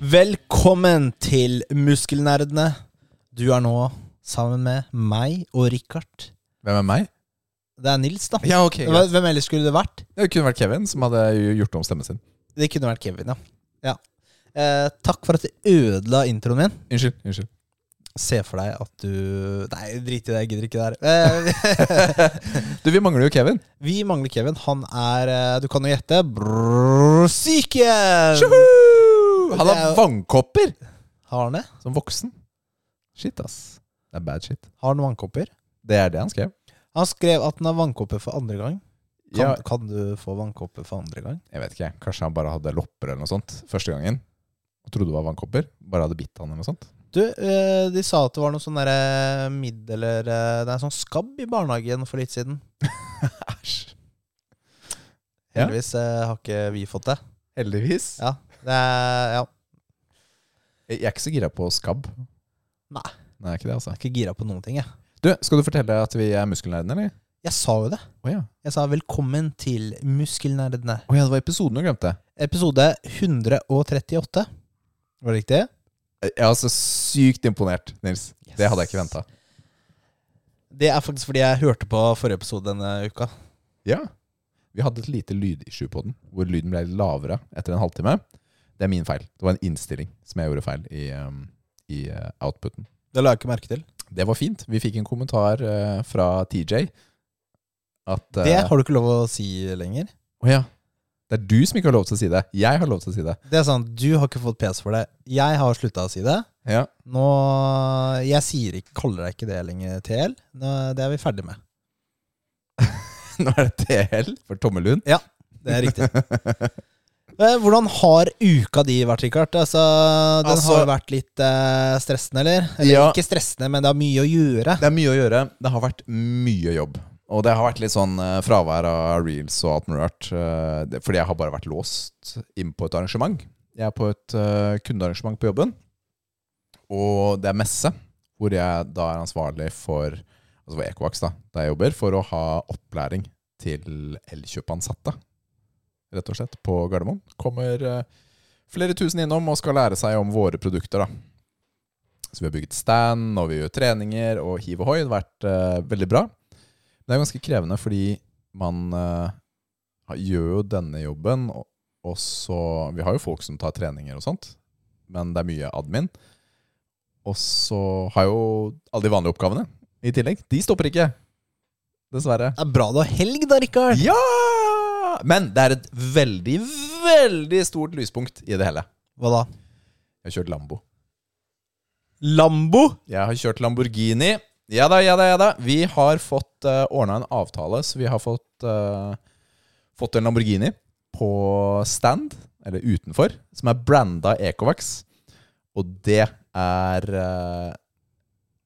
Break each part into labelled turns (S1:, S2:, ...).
S1: Velkommen til Muskelnerdene. Du er nå sammen med meg og Richard.
S2: Hvem er meg?
S1: Det er Nils, da.
S2: Ja, ok.
S1: Hva-
S2: greit.
S1: Hvem ellers skulle det vært?
S2: Det kunne vært Kevin, som hadde jo gjort om stemmen sin.
S1: Det kunne vært Kevin, ja. ja. Eh, takk for at du ødela introen min.
S2: Unnskyld. unnskyld.
S1: Se for deg at du Nei, drit i det, jeg gidder ikke det her. Eh,
S2: Du, Vi mangler jo Kevin.
S1: vi mangler Kevin. Han er eh, Du kan jo gjette. brrrr,
S2: Um,
S1: Syken!
S2: Tjoho! Han
S1: Det
S2: har
S1: er jo-
S2: vannkopper!
S1: Har han det?
S2: Som voksen. Shit, ass. Det er bad shit.
S1: Har han vannkopper?
S2: Det er det han skrev.
S1: Han skrev at han har vannkopper for andre gang. Kan,
S2: Ja,
S1: kan du få vannkopper for andre gang?
S2: jeg vet ikke. Kanskje han bare hadde lopper eller noe sånt første gangen. Og trodde det var vannkopper. Bare hadde bitt han eller noe sånt.
S1: Du, eh, de sa at det var noe sånn derre midd eller eh, Det er sånn skabb i barnehagen for litt siden.
S2: Æsj. Ja.
S1: Heldigvis eh, har ikke vi fått det.
S2: Heldigvis.
S1: Ja. Det er, ja.
S2: Jeg er ikke så gira på skabb.
S1: Nei.
S2: Nei, ikke det, altså.
S1: Jeg er ikke gira på noen ting, jeg.
S2: Du, skal du fortelle at vi er muskelnerdene, eller?
S1: Jeg sa jo det.
S2: Å ja.
S1: Jeg sa velkommen til Muskelnerdene.
S2: Å ja, det var episoden du glemte.
S1: Episode 138. Var det riktig?
S2: Jeg er altså sykt imponert, Nils. Det hadde jeg ikke venta.
S1: Det er faktisk fordi jeg hørte på forrige episode denne uka.
S2: Ja. Vi hadde et lite lydissue på den, hvor lyden ble lavere etter en halvtime. Det er min feil. Det var en innstilling som jeg gjorde feil i, um, i eh, outputen.
S1: Det la jeg ikke merke til.
S2: Det var fint. Vi fikk en kommentar eh, fra TJ at eh,
S1: Det har du ikke lov å si lenger.
S2: Å ja. Det er du som ikke har lov til å si det. Jeg har lov til å si det.
S1: Det er sånn, Du har ikke fått PS for det. Jeg har slutta å si det.
S2: Ja.
S1: Nå, Jeg sier ikke, kaller deg ikke det lenger, TL. Nå, det er vi ferdig med.
S2: Nå er det TL for tommelhund.
S1: Det er riktig. Eh, Hvordan har uka di vært, Richard? Altså, den
S2: Altså-
S1: har jo vært litt eh, stressende, eller? Eller
S2: Ja.
S1: ikke stressende, men det er mye å gjøre.
S2: Det er mye å gjøre. Det har vært mye jobb. Og det har vært litt sånn eh, fravær av reels og alt mulig rart. eh, det- Fordi jeg har bare vært låst inn på et arrangement. Jeg er på et eh, kundearrangement på jobben. Og det er messe, hvor jeg da er ansvarlig for Altså for Ecovax, da, der jeg jobber, for å ha opplæring til elkjøpansatte. Rett og slett, på Gardermoen. Kommer eh, flere tusen innom og skal lære seg om våre produkter, da. Så vi har bygget stand, og vi gjør treninger, og hiv og hoi. Det har vært eh, veldig bra. Men det er ganske krevende, fordi man eh, har- gjør jo denne jobben, og, og så Vi har jo folk som tar treninger og sånt, men det er mye admin. Og så har jo alle de vanlige oppgavene i tillegg. De stopper ikke, dessverre.
S1: Det er bra du har helg, da, Richard.
S2: Ja! Men det er et veldig, veldig stort lyspunkt i det hele.
S1: Hva da?
S2: Jeg har kjørt Lambo.
S1: Lambo?
S2: Jeg har kjørt Lamborghini. Ja da, ja da, ja da. Vi har fått uh, ordna en avtale, så vi har fått, eh, fått en Lamborghini på stand, eller utenfor, som er branda Ecovax. Og det er eh,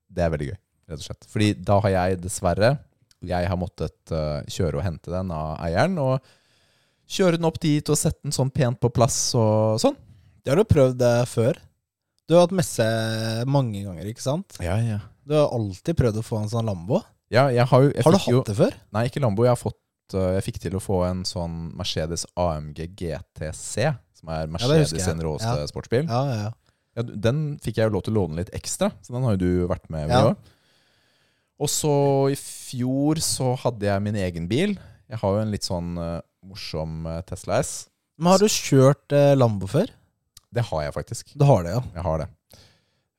S2: Det er veldig gøy, rett og slett. Fordi da har jeg dessverre Jeg har måttet eh, kjøre og hente den av eieren, og kjøre den opp dit og sette den sånn pent på plass og sånn.
S1: Det har du prøvd eh, før. Du har hatt messe mange ganger, ikke sant?
S2: Ja, ja.
S1: Du har alltid prøvd å få en sånn Lambo.
S2: Ja, jeg har jo jeg
S1: Har du
S2: fikk jo, Mm.
S1: hatt det før?
S2: Nei, ikke Lambo. Jeg, har fått, øh, jeg fikk til å få en sånn Mercedes AMG GTC, som er
S1: husker jeg.
S2: Mercedes sin råeste
S1: Ja.
S2: sportsbil.
S1: Ja, ja, ja.
S2: Ja, du- den fikk jeg jo lov til å låne litt ekstra, så den har jo du vært med
S1: Ja.
S2: med òg. Og så i fjor så hadde jeg min egen bil. Jeg har jo en litt sånn øh, morsom øh, Tesla S.
S1: Men har du kjørt eh, Lambo før?
S2: Det har jeg faktisk.
S1: Du har det, ja.
S2: Jeg har det.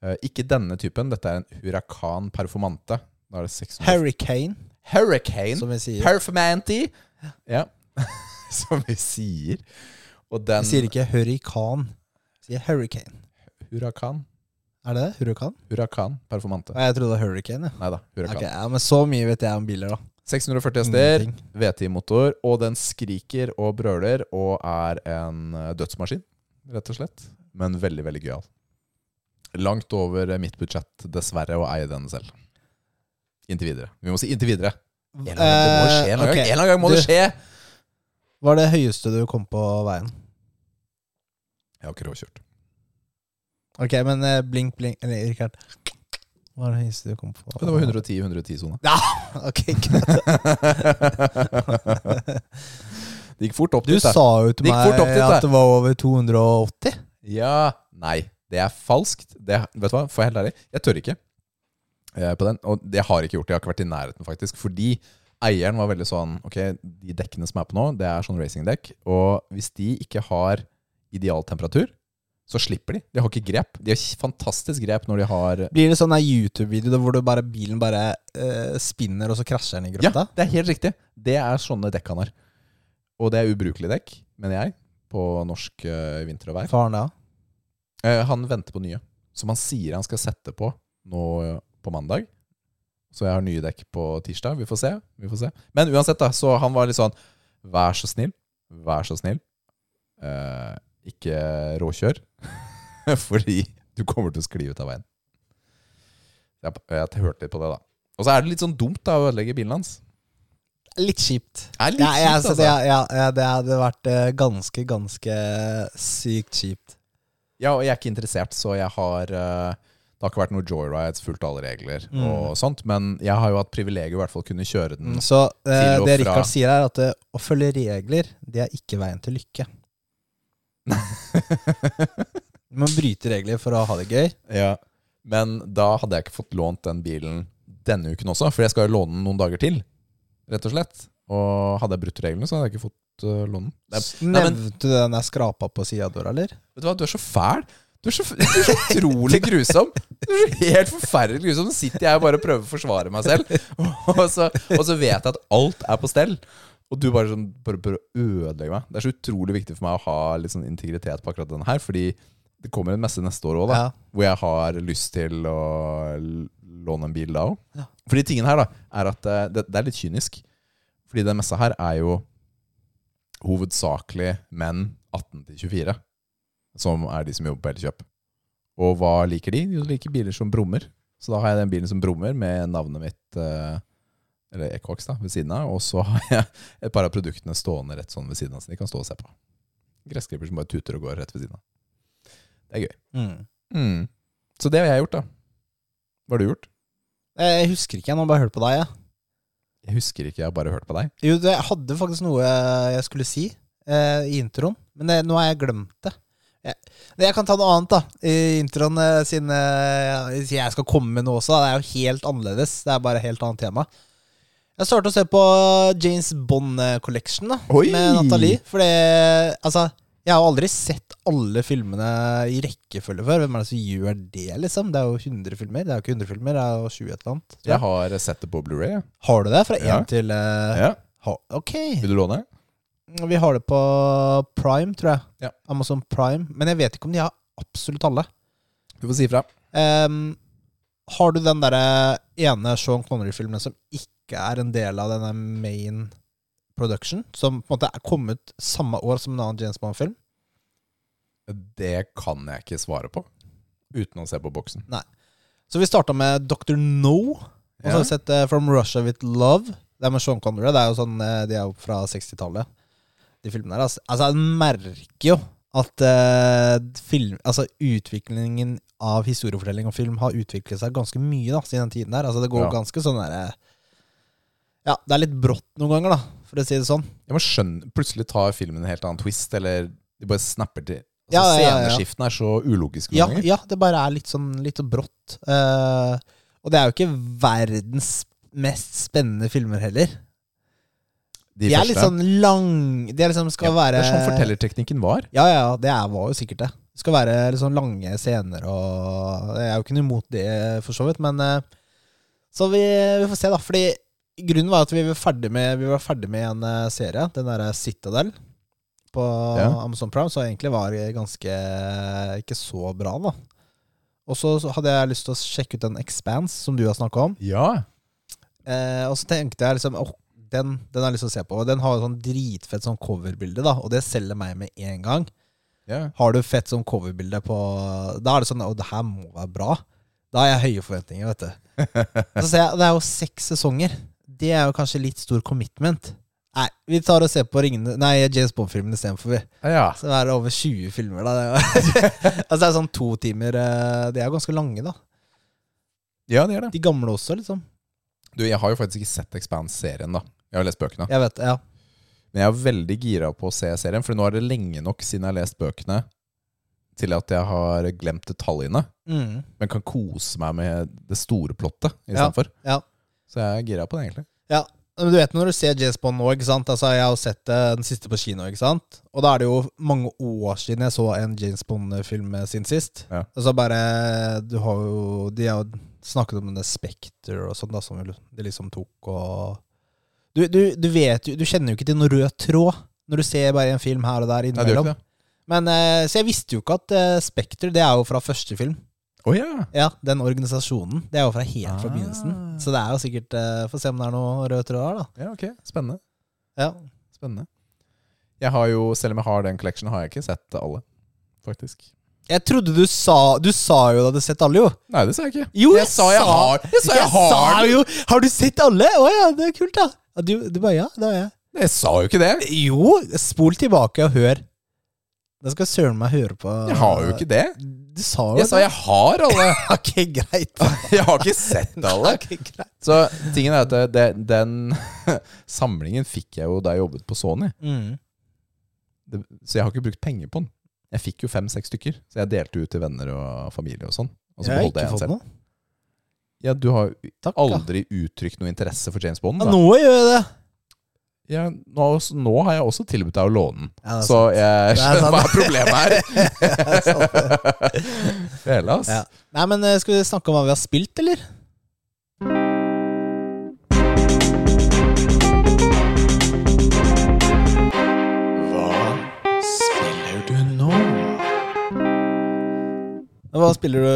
S2: Eh, ikke denne typen. Dette er en Huracan Performante. Da er det 600
S1: Hurricane,
S2: Hurricane.
S1: som vi sier.
S2: Performanti. Ja. Som vi sier. Og den
S1: Vi sier ikke hurrikan. Vi sier hurricane.
S2: Hurakan.
S1: Er det det? Hurrikan?
S2: Hurakan performante.
S1: Nei, jeg trodde det var hurricane. Ja.
S2: Nei da. Hurakan.
S1: Ok, ja, men så mye vet jeg om biler, da.
S2: 640 hester,
S1: Ingenting.
S2: VTI-motor, og den skriker og brøler og er en eh, dødsmaskin. rett og slett. Men veldig, veldig gøyal. Langt over eh, mitt budsjett, dessverre, å eie den selv. Inntil videre. Vi må si inntil videre. En eller annen gang, det må skje, en eller annen
S1: Eh,
S2: gang. En eller annen gang må det
S1: du-
S2: skje!
S1: Hva er det høyeste du kom på veien?
S2: Jeg har ikke råkjørt.
S1: Ok, men eh, blink, blink Eller Rikard. Hva er det høyeste du kom på?
S2: Det var 110-110-sone.
S1: Ok, greit.
S2: det gikk fort opp
S1: Du
S2: dit. da.
S1: sa jo til
S2: Det gikk fort
S1: meg
S2: opp dit, da.
S1: at det var over 280.
S2: Ja Nei, det er falskt. Det, vet du hva, får jeg helt ærlig? Jeg tør ikke eh, på den. Og det har jeg ikke gjort. Jeg har ikke vært i nærheten, faktisk. Fordi eieren var veldig sånn Ok, de dekkene som er på nå, det er sånn racingdekk. Og hvis de ikke har idealtemperatur, så slipper de. De har ikke grep. De har fantastisk grep når de har
S1: Blir det sånn der YouTube-video der hvor du bare, bilen bare eh, spinner, og så krasjer den i
S2: Ja,
S1: grøfta?
S2: det er helt riktig. Det er sånne dekk han har. Og det er ubrukelige dekk, mener jeg, på norsk eh, vinter og vær.
S1: Faren da?
S2: Eh, han venter på nye, som han sier han skal sette på nå eh, på mandag. Så jeg har nye dekk på tirsdag. Vi får se. Vi får se. Men uansett, da, så han var litt sånn Vær så snill, vær så snill. Eh, ikke råkjør, fordi du kommer til å skli ut av veien. Jeg, jeg hørte litt på det, da. Og så er det litt sånn dumt da å ødelegge bilen hans.
S1: Litt kjipt.
S2: Det er litt
S1: Ja, jeg,
S2: kjipt,
S1: altså, det, ja, ja, det hadde vært eh, ganske, ganske sykt kjipt.
S2: Ja, og jeg er ikke interessert, så jeg har eh, Det har ikke vært noe joyrides, fulgt alle regler
S1: Mm.
S2: og sånt, men jeg har jo hatt privilegiet å i hvert fall kunne kjøre den.
S1: Så eh,
S2: Til og
S1: det
S2: fra.
S1: Rikard sier, er at eh, å følge regler, det er ikke veien til lykke. Du må bryte regler for å ha det gøy.
S2: ja. Men da hadde jeg ikke fått lånt den bilen denne uken også, for jeg skal jo låne den noen dager til, rett og slett. Og hadde jeg brutt reglene, så hadde jeg ikke fått eh, låne den. Det er, Nei, men-
S1: Nevnte du den der skrapa på sida av døra, eller?
S2: vet du hva, du er så fæl! Du er så, du er så utrolig grusom! Du er så helt forferdelig grusom! Så sitter jeg og bare prøver å forsvare meg selv, og så, og så vet jeg at alt er på stell. Og du bare, sånn, bare prøver å ødelegge meg. Det er så utrolig viktig for meg å ha litt sånn integritet på akkurat den her, fordi det kommer en messe neste år òg, da.
S1: Ja.
S2: Hvor jeg har lyst til å l- låne en bil da òg.
S1: Ja.
S2: Fordi tingen her da er at eh, det, det er litt kynisk. Fordi den messa her er jo hovedsakelig menn 18 til 24 som er de som jobber på Elkjøp. Og hva liker de? Jo, de liker biler som brummer. Så da har jeg den bilen som brummer med navnet mitt eh, Eller Equox, da, ved siden av. Og så har jeg et par av produktene stående rett sånn ved siden av, så de kan stå og se på. Gressklipper som bare tuter og går rett ved siden av. Det er gøy.
S1: Mm.
S2: Mm. Så det har jeg gjort, da. Hva har du gjort?
S1: Eh, Jeg husker ikke, jeg nå bare hørte på deg. Ja.
S2: Jeg husker ikke, jeg har bare hørt på deg.
S1: Jo, det- jeg hadde faktisk noe jeg skulle si eh, i introen, men det, nå har jeg glemt det. Jeg, men jeg kan ta noe annet da, i introen eh, siden eh, siden jeg skal komme med noe også. Da. Det er jo helt annerledes. Det er bare helt annet tema. Jeg startet å se på James Bond eh, Collection da,
S2: Oi!
S1: med Nathalie. For det, altså, jeg har jo aldri sett alle filmene i rekkefølge før. Hvem er det som gjør det, liksom? Det er jo 100 filmer. Det er jo ikke 100 filmer, det er jo 20 et eller annet. tror
S2: Jeg
S1: jeg.
S2: har sett det på Blu-ray. jeg.
S1: Har du det? Fra 1
S2: Ja.
S1: til eh,
S2: Ja.
S1: ha, Ok.
S2: Vil du låne?
S1: Vi har det på Prime, tror jeg.
S2: Ja.
S1: Amazon Prime. Men jeg vet ikke om de har absolutt alle.
S2: Du får si ifra.
S1: Ehm, har du den derre ene Sean Connery-filmen som ikke er en del av denne main production? Som på en måte er kommet samme år som en annen James Bond-film?
S2: Det kan jeg ikke svare på uten å se på boksen.
S1: Så vi starta med Dr. No. Og så har vi sett eh, From Russia With Love. Det er med Sean Connery. Det er jo sånn, eh, de er jo fra 60-tallet, de filmene her. Altså, altså jeg merker jo at eh, film, altså, utviklingen av historiefortelling og film har utviklet seg ganske mye da, siden den tiden der. Altså, det går
S2: Ja.
S1: ganske sånn derre Ja, det er litt brått noen ganger, da, for å si det sånn.
S2: Jeg må skjønne, Plutselig tar filmen en helt annen twist, eller de bare snapper til. Altså,
S1: Ja, ja, ja, ja.
S2: Sceneskiftene er så ulogiske noen
S1: Ja,
S2: ganger.
S1: ja, det bare er litt sånn litt brått. Eh, og det er jo ikke verdens mest spennende filmer heller. De, er litt sånn lang De er liksom skal være
S2: Det er sånn fortellerteknikken var.
S1: Ja, ja, det er, var jo sikkert det. Det skal være litt sånn lange scener og Jeg er jo ikke noe imot det, for så vidt, men eh, Så vi, vi får se, da. Fordi grunnen var at vi var ferdig med, vi var ferdig med en eh, serie, den derre Citadel, på
S2: Ja.
S1: Amazon Prime, så egentlig var det ganske Ikke så bra, da. Og så så hadde jeg lyst til å sjekke ut den Expanse som du har snakka om.
S2: Ja.
S1: Eh, og så tenkte jeg liksom åh, den, den har jeg lyst til å se på. Og den har jo sånn dritfett sånn coverbilde, da, og det selger meg med en gang.
S2: Ja.
S1: Har du fett sånn coverbilde på Da er det sånn Å, det her må være bra. Da har jeg høye forventninger, vet du. Og Så ser jeg, Det er jo seks sesonger. Det er jo kanskje litt stor commitment. Nei, vi tar og ser på ringene Nei, James Bond-filmen istedenfor, vi.
S2: ja.
S1: Så det er over 20 filmer, da. Det er, jo- altså, det er sånn to timer eh, De er jo ganske lange, da.
S2: Ja, det gjør det.
S1: De gamle også, liksom.
S2: Du, jeg har jo faktisk ikke sett Expanse-serien, da. Jeg har lest bøkene.
S1: Jeg vet, ja.
S2: Men jeg er veldig gira på å se serien, for nå er det lenge nok siden jeg har lest bøkene til at jeg har glemt detaljene,
S1: Mm.
S2: men kan kose meg med det store plottet
S1: Ja,
S2: istedenfor.
S1: ja.
S2: Så jeg er gira på det, egentlig.
S1: Ja, men du vet når du ser James Bond nå, ikke sant? Altså, jeg har jo sett eh, den siste på kino, ikke sant? Og da er det jo mange år siden jeg så en James Bond-film sin sist.
S2: Ja.
S1: Og så bare, du har jo, de har jo snakket om det Spectre og sånn da, som de liksom tok og... Du, du, du vet jo, du kjenner jo ikke til noen rød tråd når du ser bare en film her og der
S2: Nei, det gjør
S1: innimellom.
S2: ikke det.
S1: Men, eh, så jeg visste jo ikke at eh, Spectre, det er jo fra første film.
S2: Å ja!
S1: Ja, den organisasjonen, det er jo fra helt fra
S2: Ah.
S1: begynnelsen. Så det er jo sikkert, eh, få se om det er noe rød tråd her da.
S2: Ja, ok. Spennende.
S1: Ja,
S2: Spennende. Jeg har jo, selv om jeg har den collectionen, har jeg ikke sett alle, faktisk.
S1: Jeg trodde du sa Du sa jo du hadde sett alle, jo.
S2: Nei, det sa jeg ikke.
S1: Jo,
S2: jeg sa jeg har Jeg sa jeg, har
S1: sa
S2: den.
S1: jo Har du sett alle? Å ja, det er kult, da. Ja, Du, du bare ja, det har jeg.
S2: Jeg sa jo ikke det!
S1: Jo, spol tilbake og hør. Da skal jeg søren meg høre på
S2: Jeg har jo ikke det.
S1: Du sa jo
S2: Jeg sa jeg har alle.
S1: Ok, greit.
S2: Jeg har ikke sett alle.
S1: Ok, greit.
S2: Så tingen er at det, det, den samlingen fikk jeg jo da jeg jobbet på Sony.
S1: Mm.
S2: Det, så jeg har ikke brukt penger på den. Jeg fikk jo fem-seks stykker, så jeg delte ut til venner og familie og sånn. Og så
S1: jeg har
S2: beholdt
S1: ikke
S2: jeg en
S1: fått
S2: selv.
S1: noe.
S2: Ja, du har jo
S1: Takk, da.
S2: aldri uttrykt noe interesse for James Bond.
S1: Ja,
S2: Da.
S1: nå gjør jeg det.
S2: Ja, nå, nå har jeg også tilbudt deg å låne den.
S1: Ja, det er
S2: så jeg
S1: Det er
S2: skjønner hva
S1: sant.
S2: er problemet her. Fela, ass.
S1: Ja. Nei, men eh, skal vi snakke om hva vi har spilt, eller?
S3: Hva spiller du nå?
S1: Hva spiller du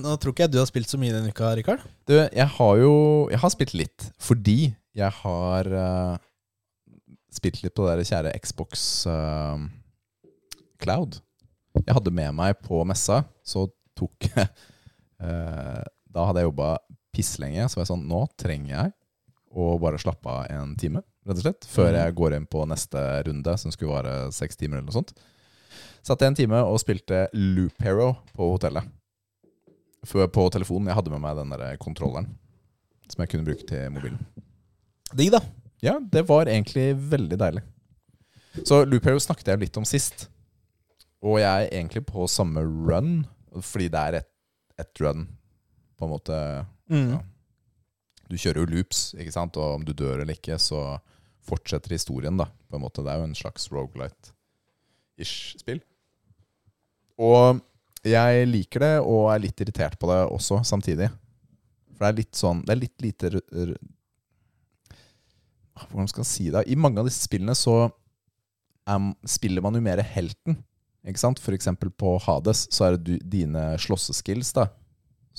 S1: Nå tror ikke jeg du har spilt så mye denne uka, Rikard.
S2: Du, jeg har jo Jeg har spilt litt fordi jeg har eh, spilt litt på det der kjære Xbox eh, Cloud. Jeg hadde med meg på messa, så tok jeg eh, Da hadde jeg jobba pisslenge, så var jeg sånn Nå trenger jeg å bare slappe av en time, rett og slett, før jeg går inn på neste runde, som skulle vare seks timer eller noe sånt. Satt jeg en time og spilte Loop Hero på hotellet. Før på telefonen. Jeg hadde med meg den der kontrolleren som jeg kunne bruke til mobilen.
S1: Digg, da.
S2: Ja, det var egentlig veldig deilig. Så Loop Hero snakket jeg jo litt om sist. Og jeg er egentlig på samme run, fordi det er et, et run, på en måte.
S1: Mm.
S2: Ja. Du kjører jo loops, ikke sant? Og om du dør eller ikke, så fortsetter historien, da. På en måte. Det er jo en slags roguelite-ish spill. Og jeg liker det, og er litt irritert på det også, samtidig. For det er litt sånn Det er litt lite r- r- Ah, Hvordan skal jeg si det? I mange av disse spillene så em, spiller man jo mer helten. Ikke sant? For eksempel på Hades så er det du, dine slåsseskills, da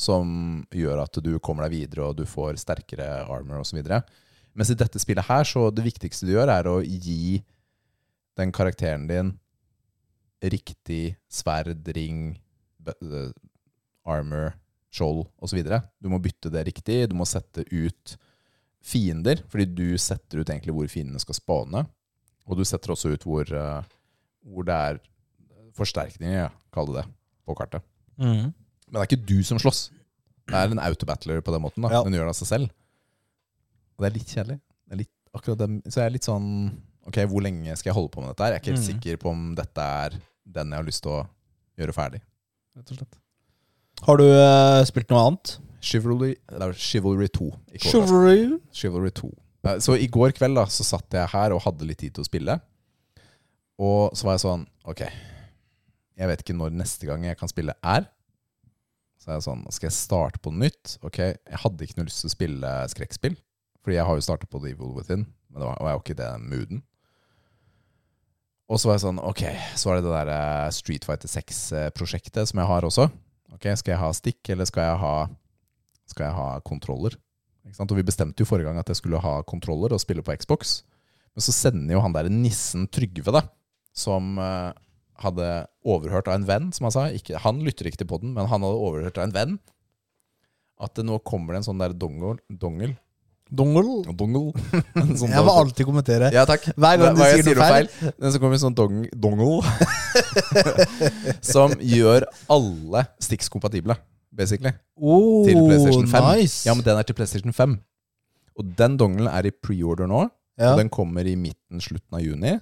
S2: som gjør at du kommer deg videre, og du får sterkere armor osv. Mens i dette spillet her, så det viktigste du gjør, er å gi den karakteren din riktig sverd, ring, b- eh, armor, skjold osv. Du må bytte det riktig, du må sette ut fiender, fordi du setter ut egentlig hvor fiendene skal spane. Og du setter også ut hvor, eh, hvor det er forsterkninger, ja, kall det det, på kartet.
S1: Mm.
S2: Men det er ikke du som slåss. Det er en autobattler på den måten. da
S1: Ja.
S2: Den gjør det av seg selv. Og det er litt kjedelig. Det er litt, akkurat den, så jeg er litt sånn Ok, hvor lenge skal jeg holde på med dette? her? Jeg er ikke helt
S1: Mm.
S2: sikker på om dette er den jeg har lyst til å gjøre ferdig. Rett og slett
S1: Har du eh, spilt noe annet?
S2: Chivalry, det er Chivalry 2. Ikke overraskende.
S1: Chivalry.
S2: Chivalry 2. Eh, Så i går kveld da, så satt jeg her og hadde litt tid til å spille. Og så var jeg sånn, ok, jeg vet ikke når neste gang jeg kan spille er. Så er jeg sånn, skal jeg starte på nytt? Ok, jeg hadde ikke noe lyst til å spille skrekkspill. Fordi jeg har jo startet på The Evil Within, men det var, var jo ikke i den mooden. Og så var jeg sånn, ok, så var det det der eh, Street Fighter 6-prosjektet som jeg har også. Ok, skal jeg ha stikk, eller skal jeg ha, skal jeg ha kontroller? Ikke sant? Og vi bestemte jo forrige gang at jeg skulle ha kontroller og spille på Xbox. Men så sender jo han der nissen Trygve, da, som eh, hadde overhørt av en venn, som han sa. Ikke, han lytter ikke til podden, men han hadde overhørt av en venn. At det nå kommer det en sånn der dongel, dongel,
S1: Dongle.
S2: dongel en sånn
S1: Jeg må alltid kommentere.
S2: ja, takk.
S1: Hver gang du
S2: jeg
S1: sier noe feil.
S2: Den som kommer i sånn dong, dongle Som gjør alle sticks kompatible, basically.
S1: Oh,
S2: Til PlayStation 5.
S1: Nice.
S2: Ja, men den er til PlayStation 5. Og den dongelen er i pre-order nå.
S1: Ja.
S2: Og den kommer i midten, slutten av juni.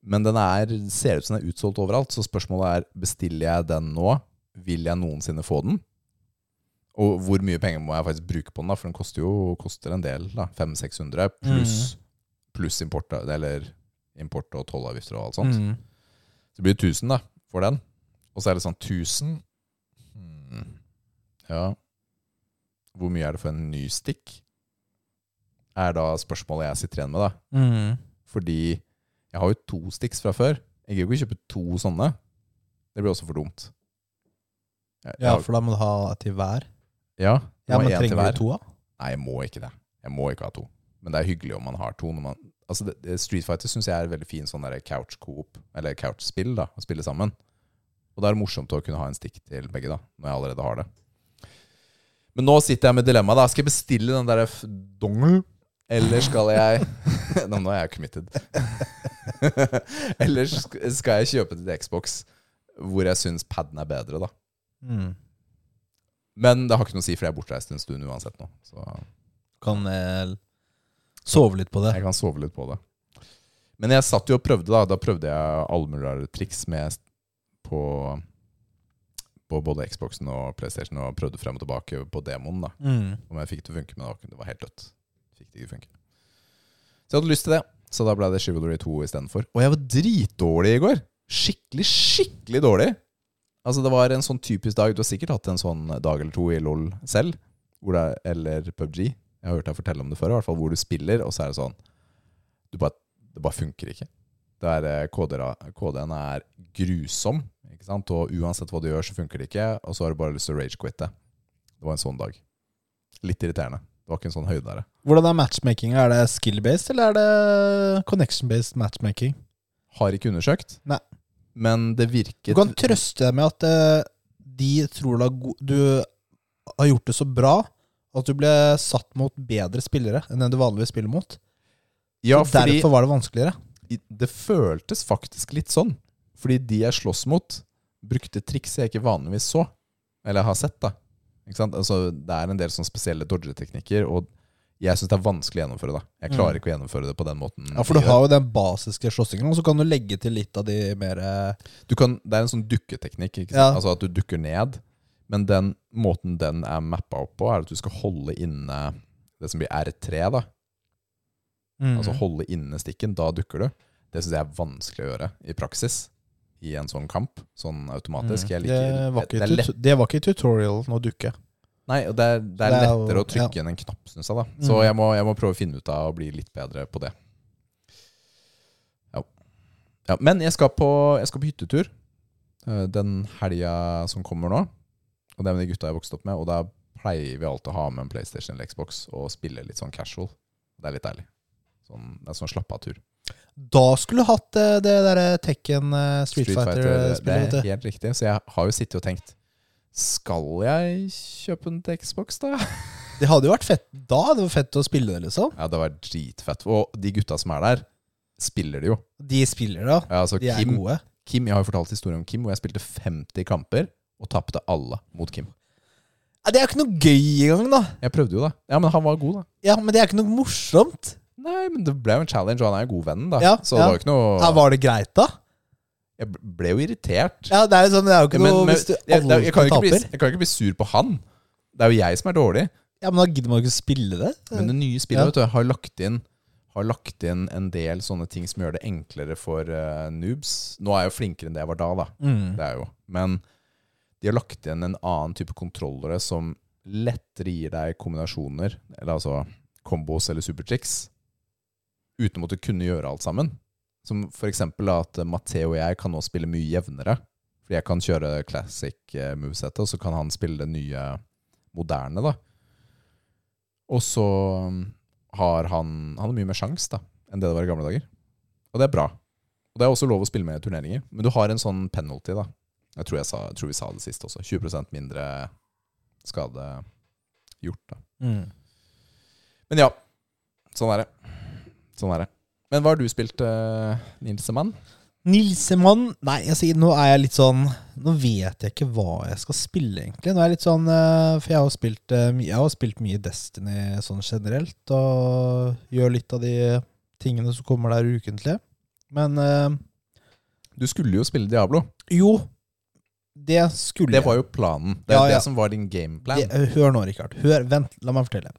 S2: Men den er, ser ut som den er utsolgt overalt, så spørsmålet er bestiller jeg den nå. Vil jeg noensinne få den? Og hvor mye penger må jeg faktisk bruke på den, da? For den koster jo koster en del. da, 500-600 pluss pluss import, eller import og tollavgifter og alt sånt.
S1: Mm.
S2: Så det blir 1000 da, for den. Og så er det sånn 1000 hmm. Ja. Hvor mye er det for en ny stikk? Er da spørsmålet jeg sitter igjen med, da.
S1: Mm.
S2: Fordi jeg har jo to sticks fra før. Jeg gidder jo ikke kjøpe to sånne. Det blir også for dumt. Jeg,
S1: Ja,
S2: jeg,
S1: for da må du ha til hver.
S2: ja,
S1: Ja,
S2: må
S1: men
S2: ha en til
S1: trenger
S2: hver.
S1: du to, da?
S2: Nei, jeg må ikke det. Jeg må ikke ha to. Men det er hyggelig om man har to. Når man, altså det, det, Street Fighter syns jeg er veldig fin sånn der couch coop, eller couch-spill, da, å spille sammen. Og da er det morsomt å kunne ha en stikk til begge, da, når jeg allerede har det. Men nå sitter jeg med dilemmaet, da. Skal jeg bestille den der f- dongel? Eller skal jeg Nå, nå er jeg committed. eller sk- skal jeg kjøpe det til Xbox, hvor jeg syns paden er bedre, da.
S1: Mm.
S2: Men det har ikke noe å si, for jeg er bortreist en stund uansett nå. Så
S1: Kan eh, sove litt på det.
S2: Jeg kan sove litt på det. Men jeg satt jo og prøvde, da. Da prøvde jeg alle mulige rare triks med på, på både Xboxen og PlayStation, og prøvde frem og tilbake på demoen, da.
S1: Mm.
S2: Om jeg fikk det til å funke, men det var ikke- det var helt dødt. Fikk det ikke funke. Så jeg hadde lyst til det, så da ble det Chivalry 2 istedenfor. Og jeg var dritdårlig i går! Skikkelig, skikkelig dårlig! Altså, det var en sånn typisk dag. Du har sikkert hatt en sånn dag eller to i LOL selv, hvor det er, eller PubG. Jeg har hørt deg fortelle om det før, i hvert fall hvor du spiller, og så er det sånn du bare, Det bare funker ikke. Det er, eh, koder- KD-en er grusom, ikke sant? og uansett hva du gjør, så funker det ikke, og så har du bare lyst til å rage-quitte. Det var en sånn dag. Litt irriterende. Det var ikke en sånn høydere.
S1: Hvordan er matchmaking? Er det skill-based, eller er det connection-based matchmaking?
S2: Har ikke undersøkt,
S1: Nei.
S2: men det
S1: Du
S2: virket
S1: kan trøste deg med at eh, de tror du har, go du har gjort det så bra at du ble satt mot bedre spillere enn den du vanligvis spiller mot.
S2: Ja,
S1: så
S2: fordi Mm.
S1: Derfor var det vanskeligere.
S2: i- det føltes faktisk litt sånn. Fordi de jeg slåss mot, brukte triks jeg ikke vanligvis så. Eller har sett, da. Ikke sant? Altså, det er en del sånne spesielle dodgeteknikker, og jeg syns det er vanskelig å gjennomføre det. Jeg klarer ikke å gjennomføre det på den måten.
S1: Mm. Ja, For du
S2: de gjør.
S1: har jo den basiske slåssingen, og så kan du legge til litt av de mer eh,
S2: Du kan, det er en sånn dukketeknikk, ikke
S1: Ja.
S2: sant? altså at du dukker ned. Men den måten den er mappa opp på, er at du skal holde inne det som blir R3. da.
S1: Mhm.
S2: Altså
S1: mm.
S2: holde inne stikken, da dukker du. Det syns jeg er vanskelig å gjøre i praksis. I en sånn kamp, sånn automatisk.
S1: Mhm.
S2: Jeg
S1: Mm.
S2: liker,
S1: det, var ikke
S2: det er
S1: tut-
S2: lett,
S1: det var ikke tutorialen å dukke.
S2: nei, og det er, det er
S1: Det er jo-
S2: lettere å trykke enn en knapp, syns jeg. da. Så
S1: Mm.
S2: jeg, må, jeg må prøve å finne ut av å bli litt bedre på det. Ja. ja men jeg skal på, jeg skal på hyttetur eh, den helga som kommer nå. Og det er med de gutta jeg vokste opp med. Og da pleier vi alltid å ha med en PlayStation eller Xbox og spille litt sånn casual. Det er litt deilig. Sånn, det er sånn slapp av tur.
S1: Da skulle du hatt eh, det derre Tekken eh, Street,
S2: det
S1: Fighter-spillet.
S2: er helt riktig. Så jeg har jo sittet og tenkt Skal jeg kjøpe den til Xbox, da?
S1: Det, det hadde jo vært fett da. Det var fett å spille det, liksom.
S2: Ja, det var dritfett. Og de gutta som er der, spiller det jo.
S1: De spiller, da.
S2: Ja, altså
S1: De er
S2: Kim,
S1: gode.
S2: Kim, Jeg har jo fortalt historien om Kim, hvor jeg spilte 50 kamper og tapte alle mot Kim.
S1: Ja, det er jo ikke noe gøy engang, da.
S2: Jeg prøvde jo, da. Ja, Men han var god, da.
S1: Ja, men det er ikke noe morsomt.
S2: Nei, men det ble jo en challenge, og han er jo godvennen, da.
S1: Ja,
S2: så
S1: ja.
S2: det var jo ikke noe
S1: Ja, var det greit, da?
S2: Jeg ble jo irritert.
S1: Ja, Det er jo sånn, det er jo ikke
S2: Men,
S1: noe
S2: men
S1: hvis du
S2: jeg, jeg,
S1: alle
S2: jeg, kan jo ikke bli,
S1: taper.
S2: jeg kan jo ikke bli sur på han. Det er jo jeg som er dårlig.
S1: Ja, Men da gidder man jo ikke spille det.
S2: Men det nye spillet
S1: Ja.
S2: vet du, har, lagt inn, har lagt inn en del sånne ting som gjør det enklere for eh, noobs. Nå er jeg jo flinkere enn det jeg var da, da.
S1: Mm.
S2: Det er jeg jo. Men de har lagt inn en annen type kontrollere som lettere gir deg kombinasjoner, eller altså combos eller supertricks, uten å måtte kunne gjøre alt sammen. Som for eksempel da at Matheo og jeg kan nå spille mye jevnere. Fordi jeg kan kjøre classic eh, movesettet, og så kan han spille det nye moderne, da. Og så mm, har han Han har mye mer sjans, da, enn det det var i gamle dager. Og det er bra. Og Det er også lov å spille med i turneringer, men du har en sånn penalty, da. Jeg tror, jeg sa, jeg tror vi sa det sist også. 20 mindre skade gjort, da.
S1: Mm.
S2: Men ja, sånn er det. Sånn er det. Men hva har du spilt, uh, Nilsemann?
S1: Nilsemann Nei, jeg sier, nå er jeg litt sånn Nå vet jeg ikke hva jeg skal spille, egentlig. Nå er jeg litt sånn eh, For jeg har jo spilt, eh, mye- jeg har jo spilt mye Destiny sånn generelt, og gjør litt av de tingene som kommer der ukentlig. Men eh,
S2: Du skulle jo spille Diablo.
S1: jo, det skulle
S2: Det
S1: jeg.
S2: var jo planen. Det er
S1: Ja,
S2: jo
S1: ja.
S2: det som var din gameplan.
S1: Det- eh, hør nå, Rikard. Hør, vent, la meg fortelle.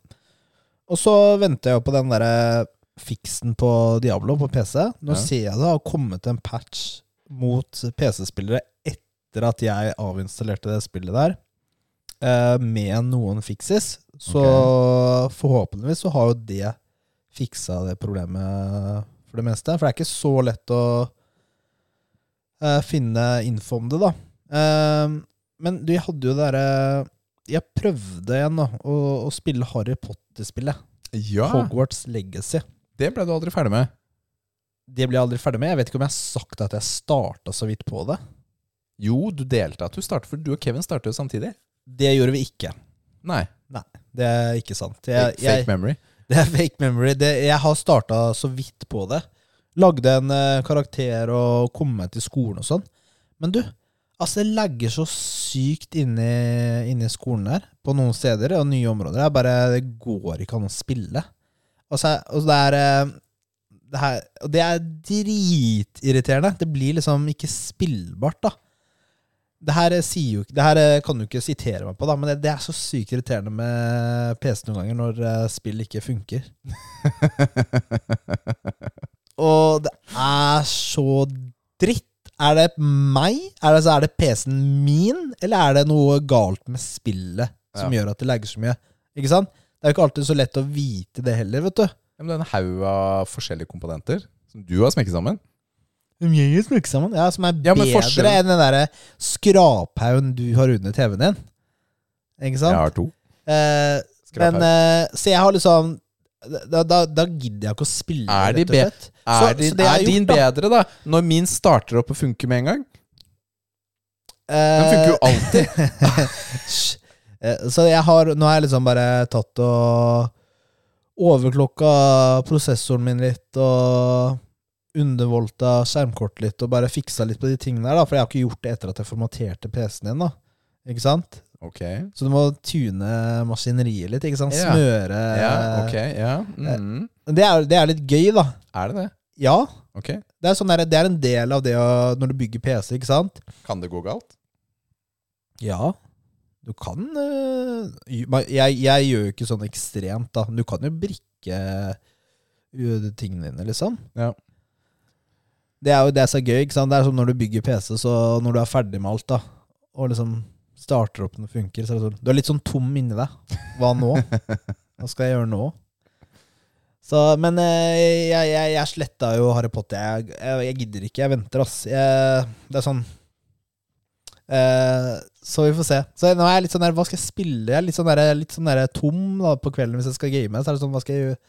S1: Og så venter jeg jo på den derre fiksen på Diablo på PC. Nå
S2: Ja.
S1: ser jeg det har kommet en patch mot PC-spillere etter at jeg avinstallerte det spillet der, eh, med noen fixes. Så forhåpentligvis så har jo det fiksa det problemet for det meste. For det er ikke så lett å eh, finne info om det, da. Eh, men du, jeg hadde jo det derre Jeg prøvde igjen da å, å spille Harry Potter-spillet.
S2: Ja,
S1: Hogwarts Legacy.
S2: det ble du aldri ferdig med.
S1: Det ble jeg aldri ferdig med. Jeg vet ikke om jeg har sagt at jeg starta så vidt på det.
S2: Jo, du delte at du startet, for du og Kevin startet jo samtidig.
S1: Det gjorde vi ikke.
S2: Nei,
S1: Det er ikke sant. Jeg,
S2: fake,
S1: jeg,
S2: fake memory.
S1: Det er fake memory. Det, jeg har starta så vidt på det. Lagde en eh, karakter og kom meg til skolen og sånn. Men du, altså det lagger så sykt inni, inni skolen der, på noen steder og nye områder. Jeg bare, det går ikke an å spille. Altså, og det er eh, det, her, og det er dritirriterende. Det blir liksom ikke spillbart, da. Det her, eh, sier jo, ikke- det her eh, kan du ikke sitere meg på, da, men det, det er så sykt irriterende med PC noen ganger når eh, spill ikke funker. Og det er så dritt. Er det meg? Er det, så er det PC-en min, eller er det noe galt med spillet som gjør at det lagger så mye? Ikke sant? Det er jo ikke alltid så lett å vite det heller, vet du.
S2: Ja, men det er en haug av forskjellige komponenter som du har smekket sammen.
S1: Som gjenger snakker sammen. Ja, som er
S2: Ja, men
S1: bedre
S2: forskjellen-
S1: enn den derre skraphaugen du har under TV-en din. Ikke
S2: Jeg
S1: sant?
S2: har to.
S1: Eh,
S2: Skraphaug.
S1: men eh, Så jeg har liksom da, da, da gidder jeg ikke å spille,
S2: Er de
S1: rett og slett. Så-
S2: Er, din,
S1: så det jeg har
S2: er din
S1: gjort, da-
S2: bedre, da? Når min starter opp og funker med en gang? Den
S1: Eh,
S2: funker jo alltid.
S1: Hysj. Eh, Så jeg har, nå har jeg liksom bare tatt og overklokka prosessoren min litt, og undervolta skjermkortet litt, og bare fiksa litt på de tingene der, da, for jeg har ikke gjort det etter at jeg formaterte PC-en din, da. Ikke sant?
S2: Ok,
S1: Så du må tune maskineriet litt, ikke sant?
S2: Ja.
S1: Smøre
S2: ja, ok,
S1: Eh,
S2: ja. Mm.
S1: det, er, det er litt gøy, da.
S2: Er det det?
S1: Ja.
S2: Ok.
S1: Det er, sånn der, det er en del av det å, når du bygger PC, ikke sant?
S2: Kan det gå galt?
S1: Ja, du kan øh, ju- men jeg, jeg gjør jo ikke sånn ekstremt, da. Du kan jo brikke øh, tingene dine, liksom.
S2: Ja.
S1: Det er jo det som er gøy. ikke sant? Det er som når du bygger PC, så når du er ferdig med alt, da, og liksom starter opp den og funker, så er det sånn Du er litt sånn tom inni deg. Hva nå? Hva skal jeg gjøre nå? Så, men eh, jeg, jeg, jeg sletta jo Harry Potter. Jeg, jeg, jeg gidder ikke. Jeg venter, ass. Jeg, det er sånn Eh, Så vi får se. Så nå er jeg litt sånn der, hva skal jeg spille? Jeg er litt sånn der, litt sånn der tom da, på kvelden hvis jeg skal game. Så er det sånn, hva skal jeg gjøre?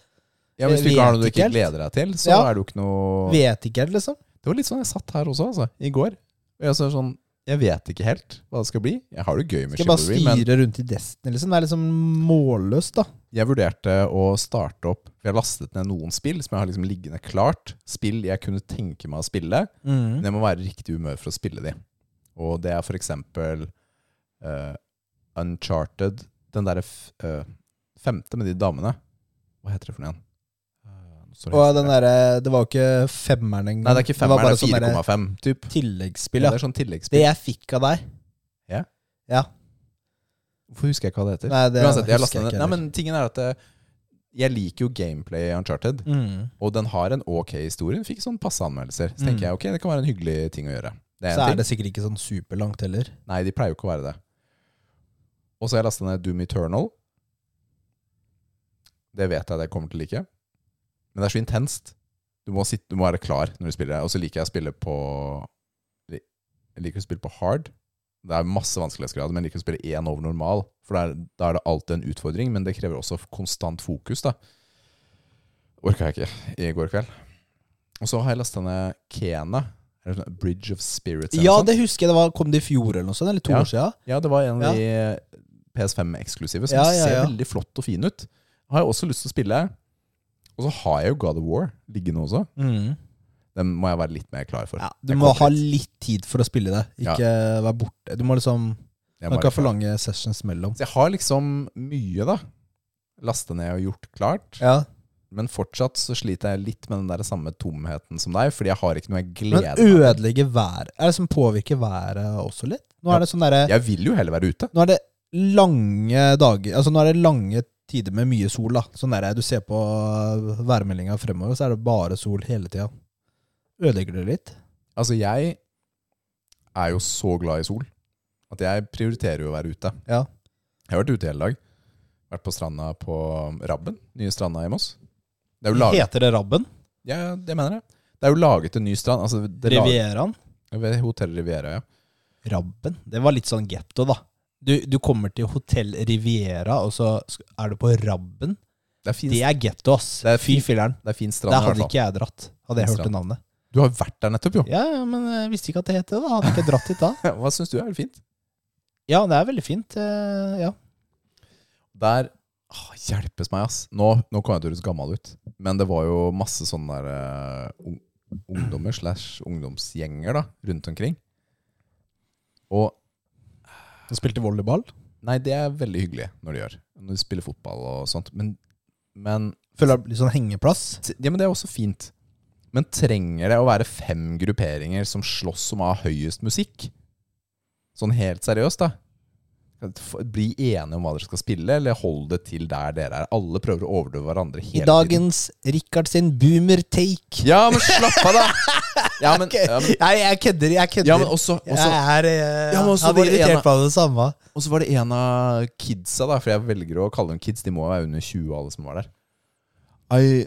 S2: Ja, Hvis du
S1: Jeg
S2: ikke har
S1: vet
S2: noe du
S1: ikke
S2: ikke
S1: helt.
S2: gleder deg til, så
S1: Eh, Ja.
S2: er det jo ikke noe
S1: Vet ikke helt, liksom.
S2: Det var litt sånn jeg satt her også, altså. I går. Og jeg så sånn Jeg vet ikke helt hva det skal bli. Jeg har det gøy med
S1: Skal jeg bare
S2: Chivalry, men
S1: styre rundt i Destiny, liksom. Det er liksom målløst, da.
S2: jeg vurderte å starte opp For jeg lastet ned noen spill som jeg har liksom liggende klart. Spill jeg kunne tenke meg å spille, men jeg må være i riktig humør for å spille de. Og det er for eksempel eh, Uncharted Den derre f- eh, femte med de damene. Hva heter det for noe igjen? Eh, sorry,
S1: Og
S2: jeg husker
S1: den
S2: det.
S1: derre Det var jo ikke femmeren engang.
S2: Nei, det er ikke
S1: var
S2: femmeren,
S1: bare
S2: det
S1: sånn
S2: er
S1: derre
S2: 4,5. Typ.
S1: tilleggsspill,
S2: Ja,
S1: ja.
S2: det er sånn tilleggsspill.
S1: Det jeg fikk av deg.
S2: Hvorfor husker jeg ikke hva det heter?
S1: Nei, det
S2: Uansett, jeg
S1: husker
S2: lastet
S1: jeg
S2: ned-
S1: ikke
S2: Nei,
S1: heller.
S2: men tingen er at eh, jeg liker jo gameplay i Uncharted, og den har en ok historie. Den fikk sånn passe anmeldelser. Så
S1: Mm.
S2: tenker jeg ok, det kan være en hyggelig ting å gjøre. Det er
S1: Så
S2: en
S1: er det
S2: ting.
S1: sikkert ikke sånn superlangt heller.
S2: Nei, de pleier jo ikke å være det. Og så har jeg lasta ned Doom Eternal. Det vet jeg at jeg kommer til å like. Men det er så intenst. Du må, sitte, du må være klar når du spiller. Og så liker jeg å spille på Jeg liker å spille på hard. Det er masse vanskelighetsgrader, men jeg liker å spille én over normal. For da er, da er det alltid en utfordring, men det krever også konstant fokus, da. Orka jeg ikke i går kveld. Og så har jeg lasta ned Kena. eller sånn Bridge of Spirits. eller
S1: Ja,
S2: noe sånt.
S1: det husker jeg. Det var, kom det i fjor eller noe sånt, eller to
S2: Ja.
S1: år siden.
S2: ja, det var en av de PS5-eksklusive som
S1: Ja, ja,
S2: ser
S1: ja.
S2: veldig flott og fin ut. Har jeg også lyst til å spille. Og så har jeg jo God of War liggende også. Den må jeg være litt mer klar for.
S1: Ja, du
S2: Jeg
S1: må
S2: kommer
S1: ha
S2: litt.
S1: litt tid for å spille det.
S2: Ja.
S1: Ikke være borte. Du må liksom Man
S2: Jeg må
S1: kan
S2: være
S1: ikke ha for
S2: klar.
S1: lange sessions mellom.
S2: Så jeg har liksom mye, da. Lasta ned og gjort klart.
S1: Ja.
S2: Men fortsatt så sliter jeg litt med den der samme tomheten som deg, fordi jeg har ikke noe jeg
S1: Men
S2: gleder meg til.
S1: ødelegge været Er det som påvirker været også litt? Nå
S2: Ja.
S1: er det sånn derre
S2: Jeg vil jo heller være ute.
S1: Nå er det lange dager Altså nå er det lange tider med mye sol, da. Sånn derre du ser på værmeldinga fremover, så er det bare sol hele tida. Ødelegger det litt?
S2: Altså, jeg er jo så glad i sol at jeg prioriterer jo å være ute.
S1: Ja.
S2: Jeg har vært ute hele dag. Vært på stranda på um, Rabben, nye stranda i Moss. Det er jo laget,
S1: Heter det Rabben?
S2: ja, det mener jeg. Det er jo laget en ny strand. Altså, det er laget,
S1: Rivieraen?
S2: ved Hotell Riviera, ja.
S1: Rabben? Det var litt sånn getto, da. Du, du kommer til Hotell Riviera, og så sk- er du på Rabben?
S2: Det er fin,
S1: Det
S2: det er,
S1: er getto, ass.
S2: Det er
S1: Fy
S2: fint.
S1: filler'n.
S2: fin strand,
S1: Der
S2: i hvert
S1: hadde
S2: fall.
S1: ikke jeg dratt, hadde jeg hørt det
S2: Strand.
S1: navnet.
S2: Du har jo vært der nettopp, jo.
S1: Ja, ja, men jeg visste ikke at det het det. da Hadde ikke dratt dit da.
S2: Hva syns du er det fint?
S1: Ja, det er veldig fint. eh, Ja.
S2: Der ah, Hjelpes meg, ass. Nå, nå kom jeg til å høres gammel ut, men det var jo masse sånne der eh, ung- ungdommer slash ungdomsgjenger da, rundt omkring. Og
S1: Du spilte volleyball?
S2: Nei, det er veldig hyggelig når de gjør. Når de spiller fotball og sånt. Men, men,
S1: Føler det blir sånn hengeplass?
S2: ja, men det er også fint. Men trenger det å være fem grupperinger som slåss om å ha høyest musikk? Sånn helt seriøst, da. F- Bli enige om hva dere skal spille, eller hold det til der dere er. Alle prøver å overdøve hverandre
S1: I
S2: hele tiden.
S1: dagens Richard sin boomer take.
S2: Ja, men slapp av, da! Ja, men, ja, men,
S1: Nei, jeg kødder, jeg kødder.
S2: ja, men også, også
S1: jeg er eh,
S2: Ja, men også
S1: Jeg
S2: var
S1: hadde
S2: det
S1: irritert
S2: ene-
S1: meg av det samme.
S2: Og så var det en av kidsa, da, for jeg velger å kalle dem kids. De må være under 20, alle som var der. I,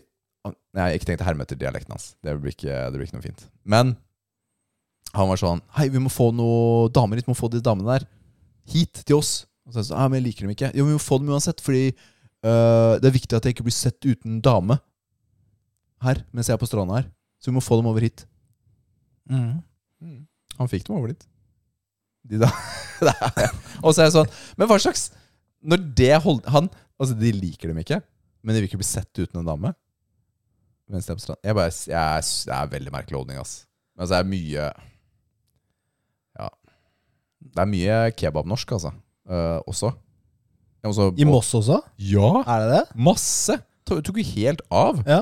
S2: nei, jeg ikke tenkte herme etter dialekten hans. Det blir, ikke, det blir ikke noe fint. Men han var sånn Hei, vi må få noen damer hit. Vi må få de damene der hit til oss. Og så, er jeg sånn, «Nei, men jeg liker dem ikke. Jo, men vi må få dem uansett, fordi øh, det er viktig at jeg ikke blir sett uten dame her mens jeg er på stranda her. Så vi må få dem over hit. Mm. Han fikk dem over dit. De da. og så er jeg sånn Men hva slags Når det hold- Han Altså, de liker dem ikke, men de vil ikke bli sett uten en dame. Mens de er på stranden. Jeg bare jeg er, Det er veldig merkelig holdning, ass. Men altså, det er mye Ja. Det er mye kebabnorsk, altså. eh, også. Ja, også
S1: I Moss også?
S2: Ja!
S1: Er det det?
S2: Masse! Det tok jo helt av.
S1: Ja.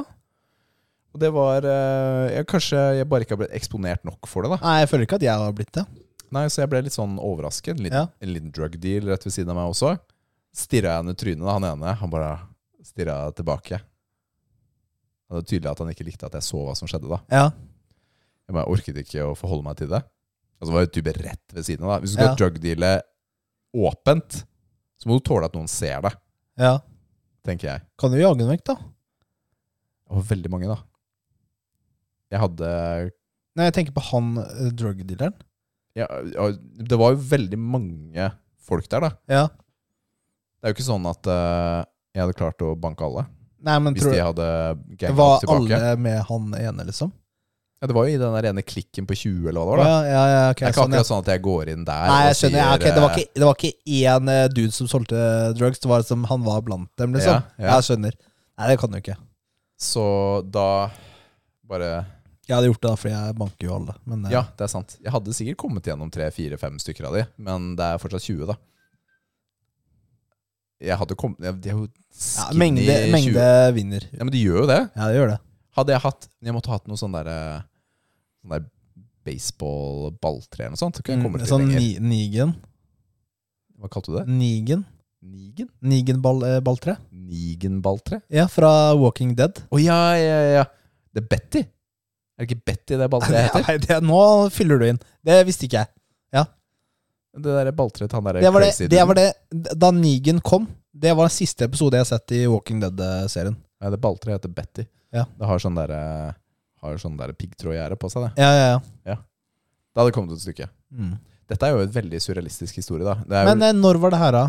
S2: Og det var eh, jeg, Kanskje jeg bare ikke har blitt eksponert nok for det, da.
S1: Nei, jeg føler ikke at jeg har blitt det.
S2: Nei, så jeg ble litt sånn overrasket. En liten,
S1: Ja.
S2: en liten drug deal rett ved siden av meg også. Stirra jeg henne i trynet, da, han ene. Han bare stirra tilbake. Og det var tydelig at han ikke likte at jeg så hva som skjedde, da.
S1: Ja.
S2: Jeg bare orket ikke å forholde meg til det. Og så var jeg type rett ved siden av, da. Hvis du skal
S1: Ja.
S2: drug deale åpent, så må du tåle at noen ser deg,
S1: ja.
S2: tenker jeg.
S1: Kan du jage den vekk, da?
S2: Det var veldig mange, da. Jeg hadde
S1: Nei, jeg tenker på han eh, drugdealeren.
S2: ja, ja, Det var jo veldig mange folk der, da.
S1: Ja.
S2: Det er jo ikke sånn at eh, jeg hadde klart å banke alle.
S1: Nei, men
S2: Hvis
S1: tror
S2: de
S1: du
S2: hadde ganga
S1: Var
S2: tilbake.
S1: alle med han ene, liksom?
S2: Ja, det var jo i den der ene klikken på 20, eller hva det var. da
S1: Ja, ja, ja, ok,
S2: Det er ikke
S1: sånn, ja.
S2: akkurat sånn at jeg går inn der
S1: Nei, jeg
S2: og
S1: skjønner. Ja, ok,
S2: sier,
S1: det, var
S2: eh,
S1: ikke, det var ikke én eh, dude som solgte drugs, det var som han var blant dem, liksom.
S2: eh, Ja, ja.
S1: Jeg skjønner. Nei, det kan du ikke.
S2: Så da bare
S1: Jeg hadde gjort det, da, fordi jeg banker jo alle. Men eh,
S2: Ja, det er sant. Jeg hadde sikkert kommet gjennom tre-fire-fem stykker av de, men det er fortsatt 20, da. Jeg hadde kommet ja, De er jo
S1: ja,
S2: skinny
S1: mengde,
S2: 20.
S1: mengde vinner.
S2: Ja, men de gjør jo det.
S1: Ja, det gjør det.
S2: Hadde jeg hatt Jeg måtte hatt noe sånn der, eh, sånn der baseball-balltre eller noe sånt. så Kunne jeg kommet litt
S1: sånn
S2: lenger.
S1: ni, Nigen.
S2: Hva kalte du det?
S1: Nigen.
S2: Nigen?
S1: Nigen-balltre.
S2: Nigen-balltre?
S1: Ja, fra Walking Dead.
S2: Å ja, ja, ja. Det er Betty. Er det ikke Betty det balltreet heter?
S1: Nei, det, nå fyller du inn. Det visste ikke jeg.
S2: Det der balltreet han der
S1: Det var det,
S2: crazy
S1: det var
S2: duden.
S1: det Da Nigen kom, det var den siste episode jeg har sett i Walking eh, Dead-serien.
S2: Nei, det balltreet heter Betty.
S1: Ja.
S2: Det har sånn derre har sånn der piggtrådgjerde på seg. Det
S1: Ja, ja, ja.
S2: Det hadde kommet et stykke.
S1: Mm.
S2: Dette er jo et veldig surrealistisk historie, da. Det er
S1: Men
S2: vel
S1: eh, når var det her, da?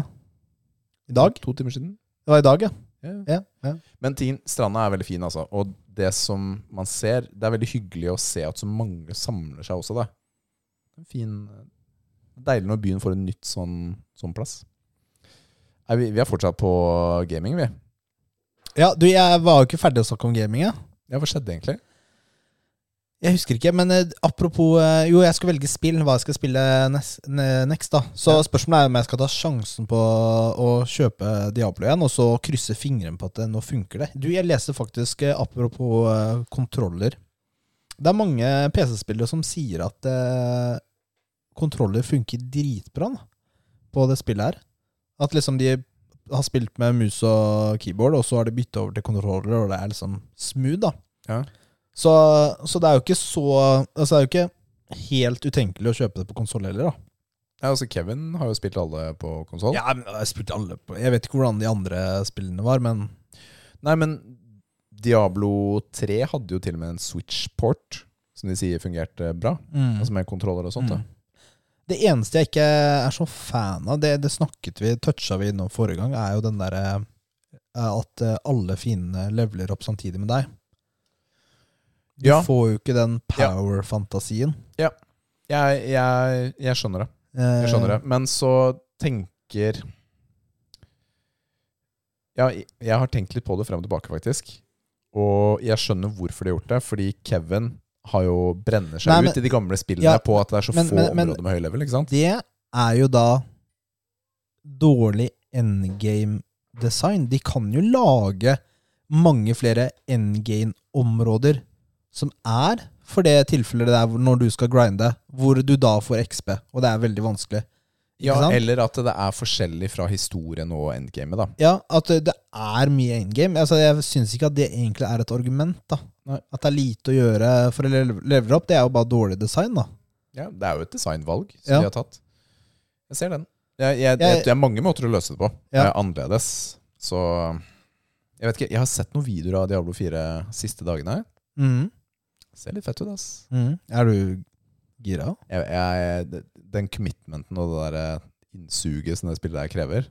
S1: I dag?
S2: To timer siden.
S1: Det var i dag, ja.
S2: Ja.
S1: ja, ja.
S2: Men tingen, stranda er veldig fin, altså. Og det som man ser Det er veldig hyggelig å se at så mange samler seg også, da. En Fin eh, Deilig når byen får en nytt sånn, sånn plass. Nei, vi, vi er fortsatt på gaming, vi.
S1: Ja, du, jeg var jo ikke ferdig å snakke om gaming, jeg.
S2: Ja, hva skjedde egentlig?
S1: Jeg husker ikke, men eh, apropos eh, Jo, jeg skal velge spill, hva jeg skal spille next, next da. Så spørsmålet er om jeg skal ta sjansen på å kjøpe Diablo igjen, og så krysse fingeren på at det, nå funker det. Du, jeg leser faktisk, eh, apropos eh, kontroller Det er mange PC-spillere som sier at eh, kontroller funker dritbra da, på det spillet her. At liksom de har spilt med mus og keyboard, og så har de bytta over til kontroller, og det er liksom smooth, da.
S2: Ja.
S1: Så, så det er jo ikke så Altså det er jo ikke helt utenkelig å kjøpe det på konsoll heller, da.
S2: Ja, altså Kevin har jo spilt alle på konsoll.
S1: Ja, men jeg spilte alle på Jeg vet ikke hvordan de andre spillene var, men
S2: Nei, men Diablo 3 hadde jo til og med en Switch-port, som de sier fungerte bra.
S1: mm.
S2: Altså med kontroller og sånt. da.
S1: Det eneste jeg ikke er så fan av, det, det snakket vi, toucha vi innom forrige gang, er jo den derre eh, at eh, alle fiendene leveler opp samtidig med deg. Du
S2: Ja.
S1: får jo ikke den power-fantasien.
S2: Jeg, jeg, jeg skjønner det.
S1: Eh,
S2: Jeg skjønner det. Men så tenker Ja, jeg har tenkt litt på det frem og tilbake, faktisk. Og jeg skjønner hvorfor de har gjort det, fordi Kevin har jo brenner seg
S1: Nei, men-
S2: ut i de gamle spillene
S1: Ja,
S2: på at det er så
S1: men-
S2: få
S1: men- men-
S2: områder med høy level, ikke sant?
S1: Det er jo da dårlig endgame-design. De kan jo lage mange flere endgame-områder som er for det tilfellet det er hvor- når du skal grinde, hvor du da får XP, og det er veldig vanskelig. Ikke
S2: Ja,
S1: sant?
S2: eller at det er forskjellig fra historien og endgamet, da.
S1: Ja, at det det er mye endgame. Altså, jeg syns ikke at det egentlig er et argument. da.
S2: Nei.
S1: At det er lite å gjøre for å lev- levele opp, det er jo bare dårlig design, da.
S2: Ja, Det er jo et designvalg som
S1: Ja.
S2: de har tatt. Jeg ser den. Jeg, jeg, jeg,
S1: Jeg-
S2: det er mange måter å løse det på.
S1: Ja.
S2: Det er annerledes. Så Jeg vet ikke, jeg har sett noen videoer av Diablo 4 siste dagene.
S1: Mhm.
S2: Ser litt fett ut, ass.
S1: Mhm. Er du gira?
S2: Jeg, jeg, det- den commitmenten og det der eh, innsuget som det spillet der krever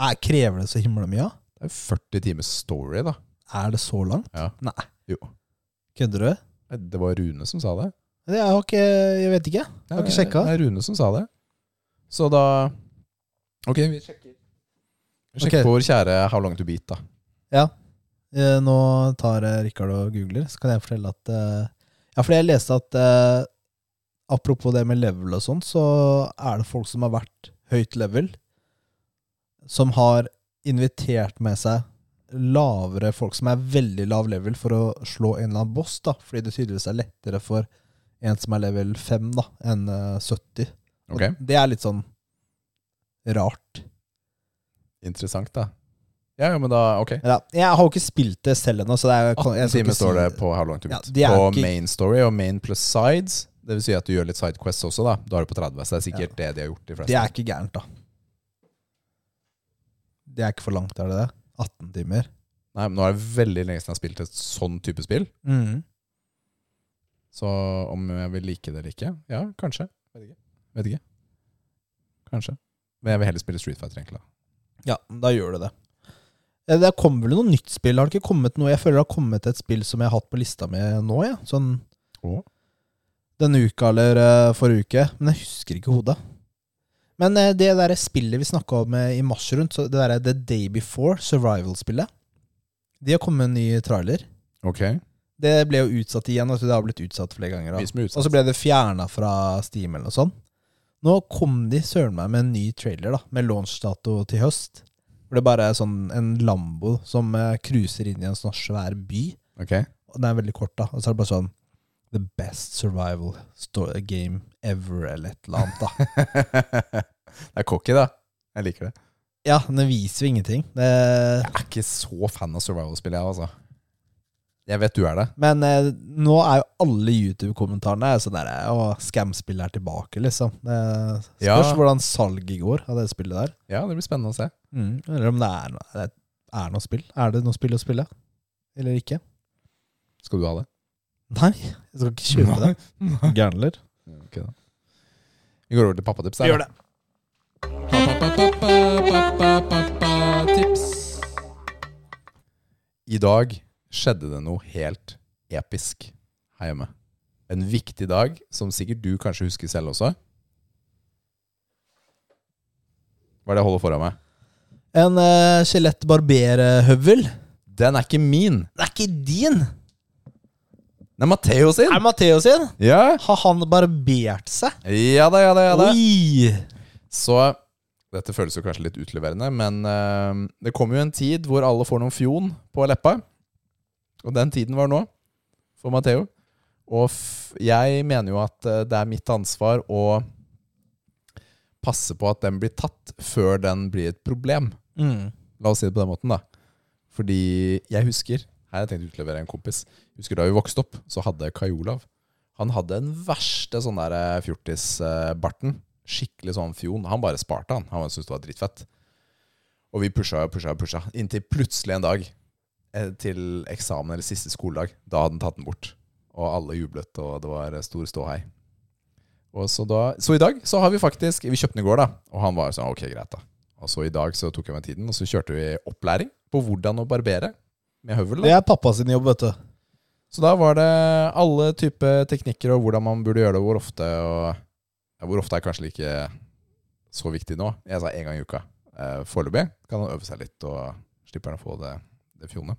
S1: Er, krever det så himla mye? da?
S2: Det er jo 40 timers story, da.
S1: Er det så langt?
S2: Ja.
S1: Nei.
S2: Jo.
S1: Kødder du?
S2: Eh, Det var Rune som sa det.
S1: Det er jo ikke Jeg vet ikke.
S2: Jeg
S1: har ikke sjekka.
S2: Det er Rune som sa det. Så da Ok, vi sjekker. Vi sjekker
S1: Ok.
S2: på vår kjære How Long To Beat, da.
S1: Eh, Nå tar eh, Rikard og googler, så kan jeg fortelle at eh, Ja, fordi jeg leste at eh, apropos det med level og sånn, så er det folk som har vært høyt level, som har invitert med seg lavere folk som er veldig lav level, for å slå en eller annen boss, da, fordi det tydeligvis er lettere for en som er level 5, da, enn eh, 70. Og
S2: Ok,
S1: Det er litt sånn rart.
S2: Interessant, da. Ja, ja, men da Ok.
S1: Ja, jeg har jo ikke spilt det selv ennå, så det er jo
S2: 18
S1: skal
S2: timer
S1: ikke
S2: står
S1: si-
S2: det på How Long To
S1: Ja,
S2: Beat.
S1: det er
S2: på
S1: ikke-
S2: main story og main plus sides. Det vil si at du gjør litt sidequests også, da. Da er du på 30, så det er sikkert det de har gjort. de fleste
S1: Det er ikke gærent, da. Det er ikke for langt, er det det? 18 timer.
S2: Nei, men Nå er det veldig lenge siden jeg har spilt et sånn type spill. Mm. Så om jeg vil like det eller ikke Ja, kanskje. Vet ikke. Vet ikke. Kanskje. Men jeg vil heller spille Street Fighter, egentlig. da.
S1: Ja, da gjør du det. Eh, Det kom vel noe nytt spill? Har det ikke kommet noe? Jeg føler det har kommet et spill som jeg har hatt på lista mi nå, ja. Sånn
S2: Å?
S1: denne uka eller eh, forrige uke. Men jeg husker ikke hodet. Men eh, det der spillet vi snakka om eh, i mars rundt, så det derre The Day Before, survival-spillet, de har kommet med en ny trailer.
S2: Ok.
S1: Det ble jo utsatt igjen, vet du. Det har blitt utsatt flere ganger. Da.
S2: Mye som er
S1: Og
S2: utsatt.
S1: så ble det fjerna fra Steam eller noe sånt. Nå kom de søren meg med en ny trailer, da, med launchdato til høst. Hvor det bare er sånn en Lambo som eh, cruiser inn i en sånn svær by.
S2: Ok.
S1: Og den er veldig kort, da. Og så er det bare sånn The best survival sto- game ever, eller et eller annet, da.
S2: det er cocky, da. Jeg liker det.
S1: Ja, men det viser jo ingenting. Det,
S2: Jeg er ikke så fan av survival-spill, jeg, altså. Jeg vet du er det.
S1: Men eh, nå er jo alle YouTube-kommentarene sånn der Å, scam-spillet er tilbake, liksom. Det spørs
S2: Ja.
S1: hvordan salget går av det spillet der.
S2: Ja, det blir spennende å se.
S1: Mm. Eller om det er, noe, det er noe spill. Er det noe spill å spille? Eller ikke?
S2: Skal du ha det?
S1: Nei, jeg skal ikke kjøpe det. Gærnler.
S2: Ok, da. Vi går over til pappatips. der,
S1: Gjør
S2: da.
S1: det.
S2: Pappa-pappa-pappa-pappa-tips. I dag skjedde det noe helt episk her hjemme. En viktig dag, som sikkert du kanskje husker selv også. Hva er det jeg holder foran meg?
S1: En uh, skjelett barberhøvel.
S2: Den er ikke min!
S1: Det er ikke din!
S2: Den er Matteo sin!
S1: Er det Matteo sin?
S2: Ja.
S1: Har han barbert seg?
S2: ja da, ja da, ja da.
S1: Oi!
S2: Så dette føles jo kanskje litt utleverende, men eh, det kommer jo en tid hvor alle får noen fjon på leppa. Og den tiden var nå, for Matheo. Og f jeg mener jo at eh, det er mitt ansvar å passe på at den blir tatt før den blir et problem.
S1: Mm.
S2: La oss si det på den måten, da. Fordi jeg husker Her har jeg tenkt å utlevere en kompis. Husker da vi vokste opp, så hadde Kai Olav Han hadde den verste sånn der eh, fjortisbarten. Skikkelig sånn fjon. Han bare sparte, han. Han syntes det var dritfett. Og vi pusha og pusha og pusha. Inntil plutselig en dag, eh, til eksamen eller siste skoledag, da hadde han tatt den bort. Og alle jublet, og det var eh, stor ståhei. Og så, da, så i dag så har vi faktisk Vi kjøpte den i går, da. Og han var jo sånn Ok, greit, da. Og så i dag så tok jeg meg tiden, og så kjørte vi opplæring på hvordan å barbere med høvel.
S1: Det
S2: Da.
S1: er pappa sin jobb, vet du.
S2: Så da var det alle typer teknikker og hvordan man burde gjøre det, og hvor ofte. Og ja, hvor ofte er kanskje ikke så viktig nå. Jeg sa én gang i uka. Eh, Foreløpig kan han øve seg litt, og slipper han å få det, det fjonet.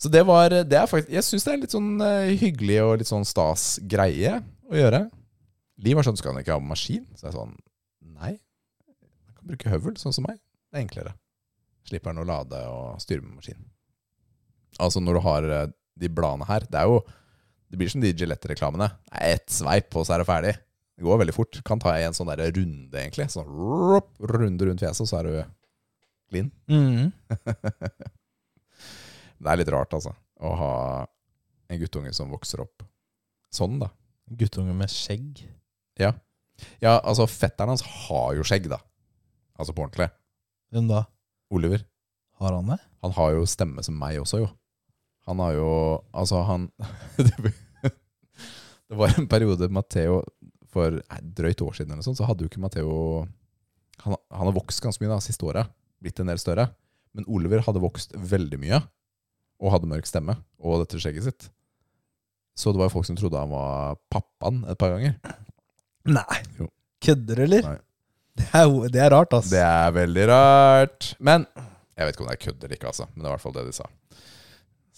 S2: Så det var det er faktisk, Jeg syns det er litt sånn eh, hyggelig og litt sånn stas greie å gjøre. Liv var sånn Skal han ikke ha maskin? Så jeg sånn Nei. Han kan bruke høvel, sånn som meg. Det er enklere. Slipper han å lade og styre med maskin. Altså, når du har eh, de bladene her Det er jo Det blir som de Gillette-reklamene. Det er Ett sveip, og så er det ferdig. Det går veldig fort. Kan ta en sånn der runde, egentlig. Sånn rup, runde rundt fjeset, og så er du clean.
S1: Mm.
S2: Det er litt rart, altså. Å ha en guttunge som vokser opp sånn, da.
S1: Guttunge med skjegg.
S2: Ja, altså, fetteren hans har jo skjegg, da. Altså på ordentlig.
S1: Hvem da?
S2: Oliver.
S1: Har han det?
S2: Han har jo stemme som meg også, jo. Han har jo Altså, han Det var en periode Matheo For nei, drøyt år siden eller noe sånt, så hadde jo ikke Matheo han, han har vokst ganske mye da, siste året. Blitt en del større. Men Oliver hadde vokst veldig mye. Og hadde mørk stemme. Og dette skjegget sitt. Så det var jo folk som trodde han var pappaen et par ganger.
S1: Nei.
S2: Jo.
S1: Kødder, eller?
S2: Nei.
S1: Det er, jo- det er rart, ass.
S2: Det er veldig rart. Men jeg vet ikke om det er kødd eller ikke, altså. Men det var i hvert fall det de sa.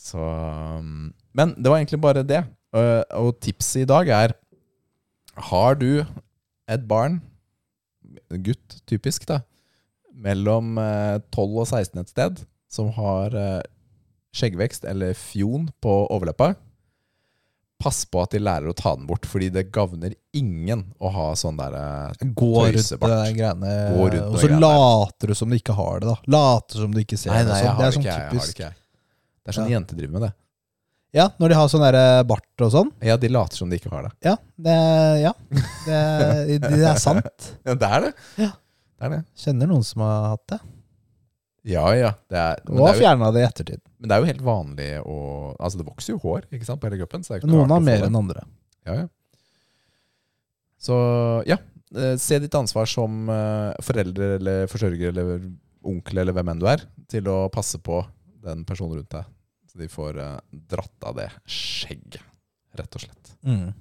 S2: Så, um, men det var egentlig bare det. Uh, Og tipset i dag er Har du et barn, en gutt typisk, da, mellom eh, 12 og 16 et sted, som har eh, skjeggvekst eller fjon på overleppa, pass på at de lærer å ta den bort, fordi det gavner ingen å ha sånn der eh,
S1: Gå rundt det
S2: Tøysebart.
S1: der greiene,
S2: Gå rundt
S1: og
S2: det
S1: så
S2: greiene.
S1: later du som du ikke har det, da. Later som du ikke ser det. sånn. det er sånn typisk.
S2: jeg. Det er sånn jenter driver med det.
S1: Ja, når de har sånn der bart og sånn.
S2: Ja, de later som de ikke har det.
S1: Ja, det, ja. Det, det er sant.
S2: Ja, det er det.
S1: Ja.
S2: Det er det.
S1: Kjenner noen som har hatt det.
S2: Ja, ja. Det er,
S1: Og
S2: men, det
S1: har
S2: er jo,
S1: fjerna det i ettertid.
S2: men det er jo helt vanlig å Altså, det vokser jo hår ikke sant, på hele kroppen. Så det er ikke noe
S1: Noen
S2: rart
S1: har
S2: å få
S1: mer
S2: det.
S1: enn andre.
S2: Ja, ja. Så ja, eh, se ditt ansvar som eh, forelder eller forsørger eller onkel eller hvem enn du er, til å passe på den personen rundt deg. Så de får eh, dratt av det skjegget, rett og slett.
S1: Mm.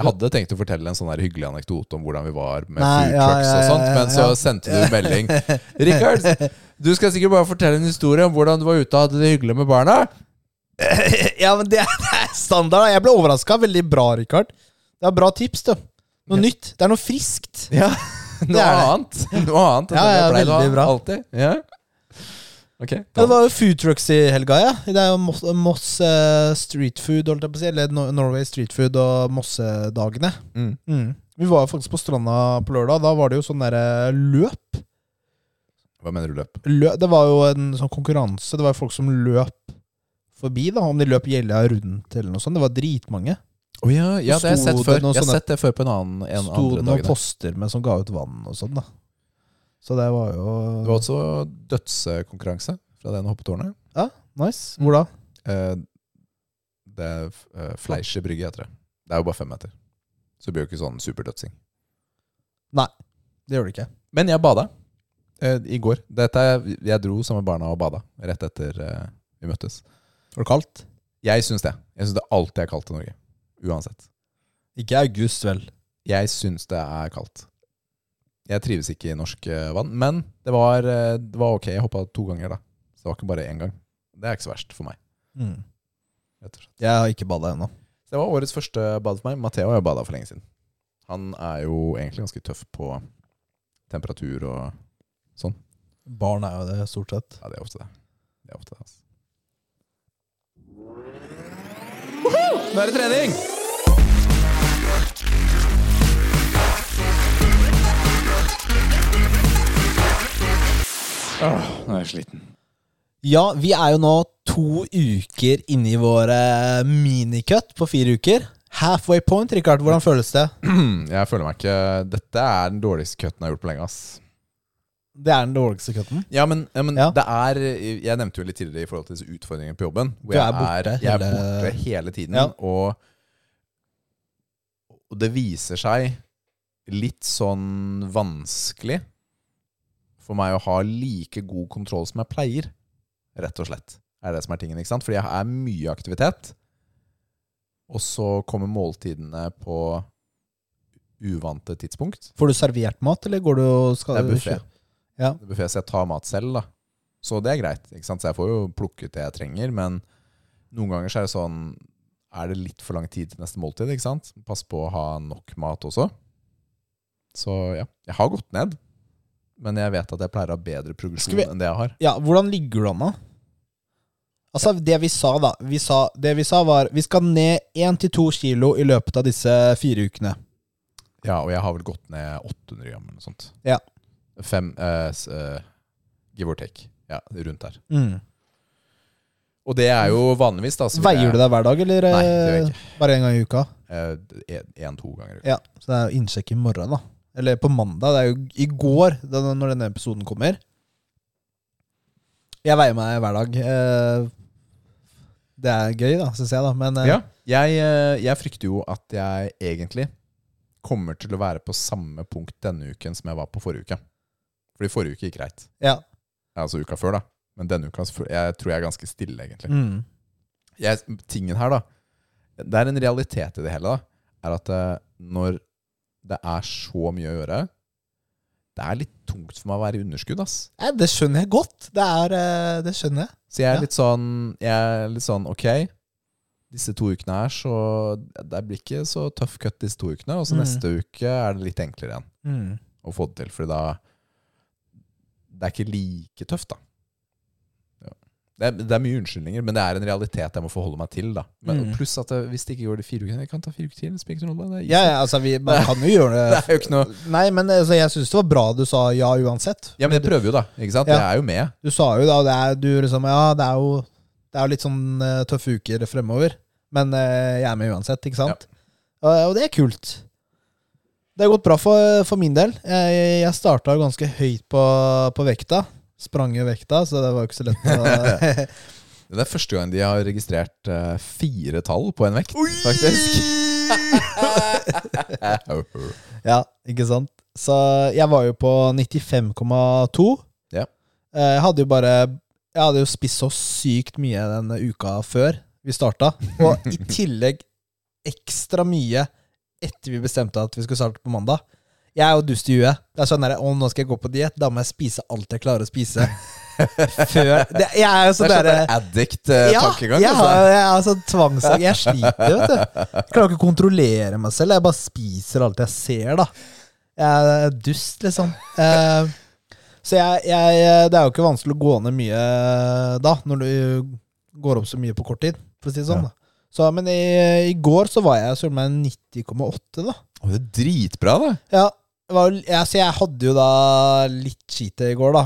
S2: Jeg hadde tenkt å fortelle en sånn her hyggelig anekdote om hvordan vi var med
S1: Nei,
S2: food
S1: ja,
S2: trucks og
S1: ja,
S2: sånt,
S1: ja,
S2: men så
S1: ja.
S2: sendte du en melding. 'Richard, du skal sikkert bare fortelle en historie om hvordan du var ute og hadde det hyggelig med barna.'
S1: Ja, men det er, det er standard. da. Jeg ble overraska. Veldig bra, Rikard. Det er bra tips, du. Noe nytt. Det er noe friskt.
S2: Ja, Noe
S1: Det er det.
S2: annet. Noe annet enn
S1: Ja,
S2: det
S1: ja,
S2: ble da,
S1: veldig bra.
S2: Alltid. Ja. Ok.
S1: Ja, det var jo food trucks i helga, ja. Det er jo Moss, Moss eh, Street Food, holdt jeg på å si. Eller Nor- Norway Street Food og Mossedagene.
S2: Mm.
S1: Vi var jo faktisk på stranda på lørdag. Da var det jo sånn derre løp.
S2: Hva mener du løp?
S1: løp. Det var jo en sånn konkurranse. Det var jo folk som løp forbi, da. Om de løp gjelda rundt eller noe sånt. Det var dritmange.
S2: Å ja, ja, det har jeg
S1: Sto
S2: sett
S1: det
S2: før.
S1: noe
S2: Jeg har
S1: sånne-
S2: sett det før på en annen en
S1: Sto
S2: andre
S1: det noen
S2: dag.
S1: poster med som ga ut vann og sånn, da. Så det var
S2: Det
S1: jo
S2: var også dødskonkurranse fra den hoppetårnet.
S1: nice. Hvor da?
S2: Eh, Det er eh, Fleischer brygge, heter det. Det er jo bare fem meter. Så det blir jo ikke sånn superdødsing.
S1: Det gjør det ikke.
S2: Men jeg bada eh, i går. Dette, er- jeg dro sammen med barna og bada rett etter eh, vi møttes.
S1: Var det kaldt?
S2: Jeg syns det. Jeg syns det alltid er kaldt i Norge. Uansett.
S1: Ikke i august, vel.
S2: Jeg syns det er kaldt. Jeg trives ikke i norsk eh, vann, men det var, eh, det var ok. Jeg hoppa to ganger, da. Så det var ikke bare én gang. Det er ikke så verst for meg.
S1: Mm.
S2: Rett og slett.
S1: Jeg har ikke bada ennå.
S2: Så Det var årets første bad for meg. Matheo har jo bada for lenge siden. Han er jo egentlig ganske tøff på temperatur og
S1: Barn er jo det, stort sett.
S2: Ja, det er ofte det. Det er ofte det, altså. Nå er det trening! Åh, nå er jeg sliten.
S1: Ja, vi er jo nå to uker inne i våre minicut på fire uker. Halfway point, Rikard. Hvordan føles det?
S2: Jeg føler meg ikke Dette er den dårligste cutten jeg har gjort på lenge. ass
S1: Det er den dårligste cutten.
S2: Ja, men, ja, men
S1: Ja.
S2: det er eh, Jeg nevnte jo litt tidligere i forhold til disse utfordringene på jobben. Hvor
S1: Du
S2: jeg
S1: er borte
S2: jeg er
S1: hele-
S2: borte hele tiden.
S1: Ja.
S2: Og, og det viser seg litt sånn vanskelig for meg å ha like god kontroll som jeg pleier. Rett og slett. Er det som er tingen, ikke sant? Fordi jeg er mye aktivitet. Og så kommer måltidene på uvante tidspunkt.
S1: Får du servert mat, eller går du og skal
S2: Det er buffé.
S1: Ja.
S2: Det er buffet, så jeg tar mat selv, da. Så det er greit. ikke sant? Så jeg får jo plukket det jeg trenger, men noen ganger så er det sånn Er det litt for lang tid til neste måltid? ikke sant? Pass på å ha nok mat også. Så ja, jeg har gått ned. Men jeg vet at jeg pleier å ha bedre progresjon
S1: Skal vi-
S2: enn det jeg har.
S1: Ja, hvordan ligger du an da? Altså, det vi sa da, vi sa, det vi sa var vi skal ned 1-2 kilo i løpet av disse fire ukene.
S2: Ja, Og jeg har vel gått ned 800 gram eller noe sånt.
S1: Ja.
S2: Fem, eh, s- eh, give or take. Ja, rundt der. Og det er jo vanligvis, da. så vil
S1: Veier
S2: jeg-
S1: du deg hver dag, eller
S2: Nei, det gjør jeg
S1: eh, bare en gang i uka?
S2: ikke. Én-to eh, ganger.
S1: Ja, så det er jo innsjekk i morgen, da. Eller på mandag. Det er jo i går, da, når denne episoden kommer. Jeg veier meg hver dag. eh, Det er gøy, da, syns jeg, da. Men eh,
S2: Ja, jeg, eh, jeg frykter jo at jeg egentlig kommer til å være på samme punkt denne uken som jeg var på forrige uke. Fordi forrige uke gikk greit.
S1: ja.
S2: Altså uka før, da. Men denne uka så føl- jeg tror jeg er ganske stille, egentlig.
S1: Mm.
S2: Jeg, tingen her, da. Det er en realitet i det hele, da. Er at eh, når det er så mye å gjøre Det er litt tungt for meg å være i underskudd, ass.
S1: Nei, det skjønner jeg godt. Det, er, eh, det skjønner jeg.
S2: Så jeg er
S1: Ja.
S2: litt sånn Jeg er litt sånn Ok, disse to ukene her Så det blir ikke så tøff cut disse to ukene Og så
S1: Mm.
S2: neste uke er det litt enklere igjen Å få det til Fordi da Det er ikke like tøft da ja. det, er, det er mye unnskyldninger Men det er en realitet jeg må forholde meg til da men,
S1: Mm.
S2: Pluss at det, hvis det ikke går de fire ukene Jeg kan ta fire uker til det spiller ikke noen rolle, det er
S1: Ja, ja, altså, vi, man kan jo gjøre
S2: Det
S1: det.
S2: er jo ikke noe
S1: Nei, men altså, jeg syns det var bra du sa ja uansett.
S2: Ja, men jeg prøver jo da Ikke sant?
S1: Ja.
S2: Jeg er jo med
S1: Du sa jo da det er, du liksom, ja, det er jo det er jo litt sånn eh, tøffe uker fremover, men eh, jeg er med uansett, ikke sant? Eh, og det er kult. Det har gått bra for, for min del. Jeg, jeg starta jo ganske høyt på, på vekta. Sprang jo vekta, så det var jo ikke så lett å
S2: Det er første gang de har registrert eh, fire tall på en vekt, faktisk.
S1: Ja, ikke sant? Så jeg var jo på 95,2.
S2: Ja.
S1: Eh, Jeg hadde jo bare Jeg hadde jo spist så sykt mye denne uka før vi starta. Og i tillegg ekstra mye etter vi bestemte at vi skulle starte på mandag. Jeg er jo dust i huet. Det er sånn der, å, nå skal jeg gå på diett. Da må jeg spise alt jeg klarer å spise. Før det, Jeg er jo
S2: Så
S1: sånn
S2: det er
S1: derre
S2: sånn addict-tankegang.
S1: jeg, har,
S2: altså.
S1: jeg er sånn tvangsang. Jeg sliter, vet du. Jeg klarer ikke å kontrollere meg selv. Jeg bare spiser alt jeg ser, da. Jeg er dust, liksom. Eh, så jeg, jeg eh, Det er jo ikke vanskelig å gå ned mye eh, da, når du går opp så mye på kort tid, for å si det sånn.
S2: Ja.
S1: da. Så, men i, i går så var jeg søren meg 90,8, da.
S2: Å, det er dritbra, da.
S1: Ja, det var, jo- ja, så jeg hadde jo da litt cheat i går, da.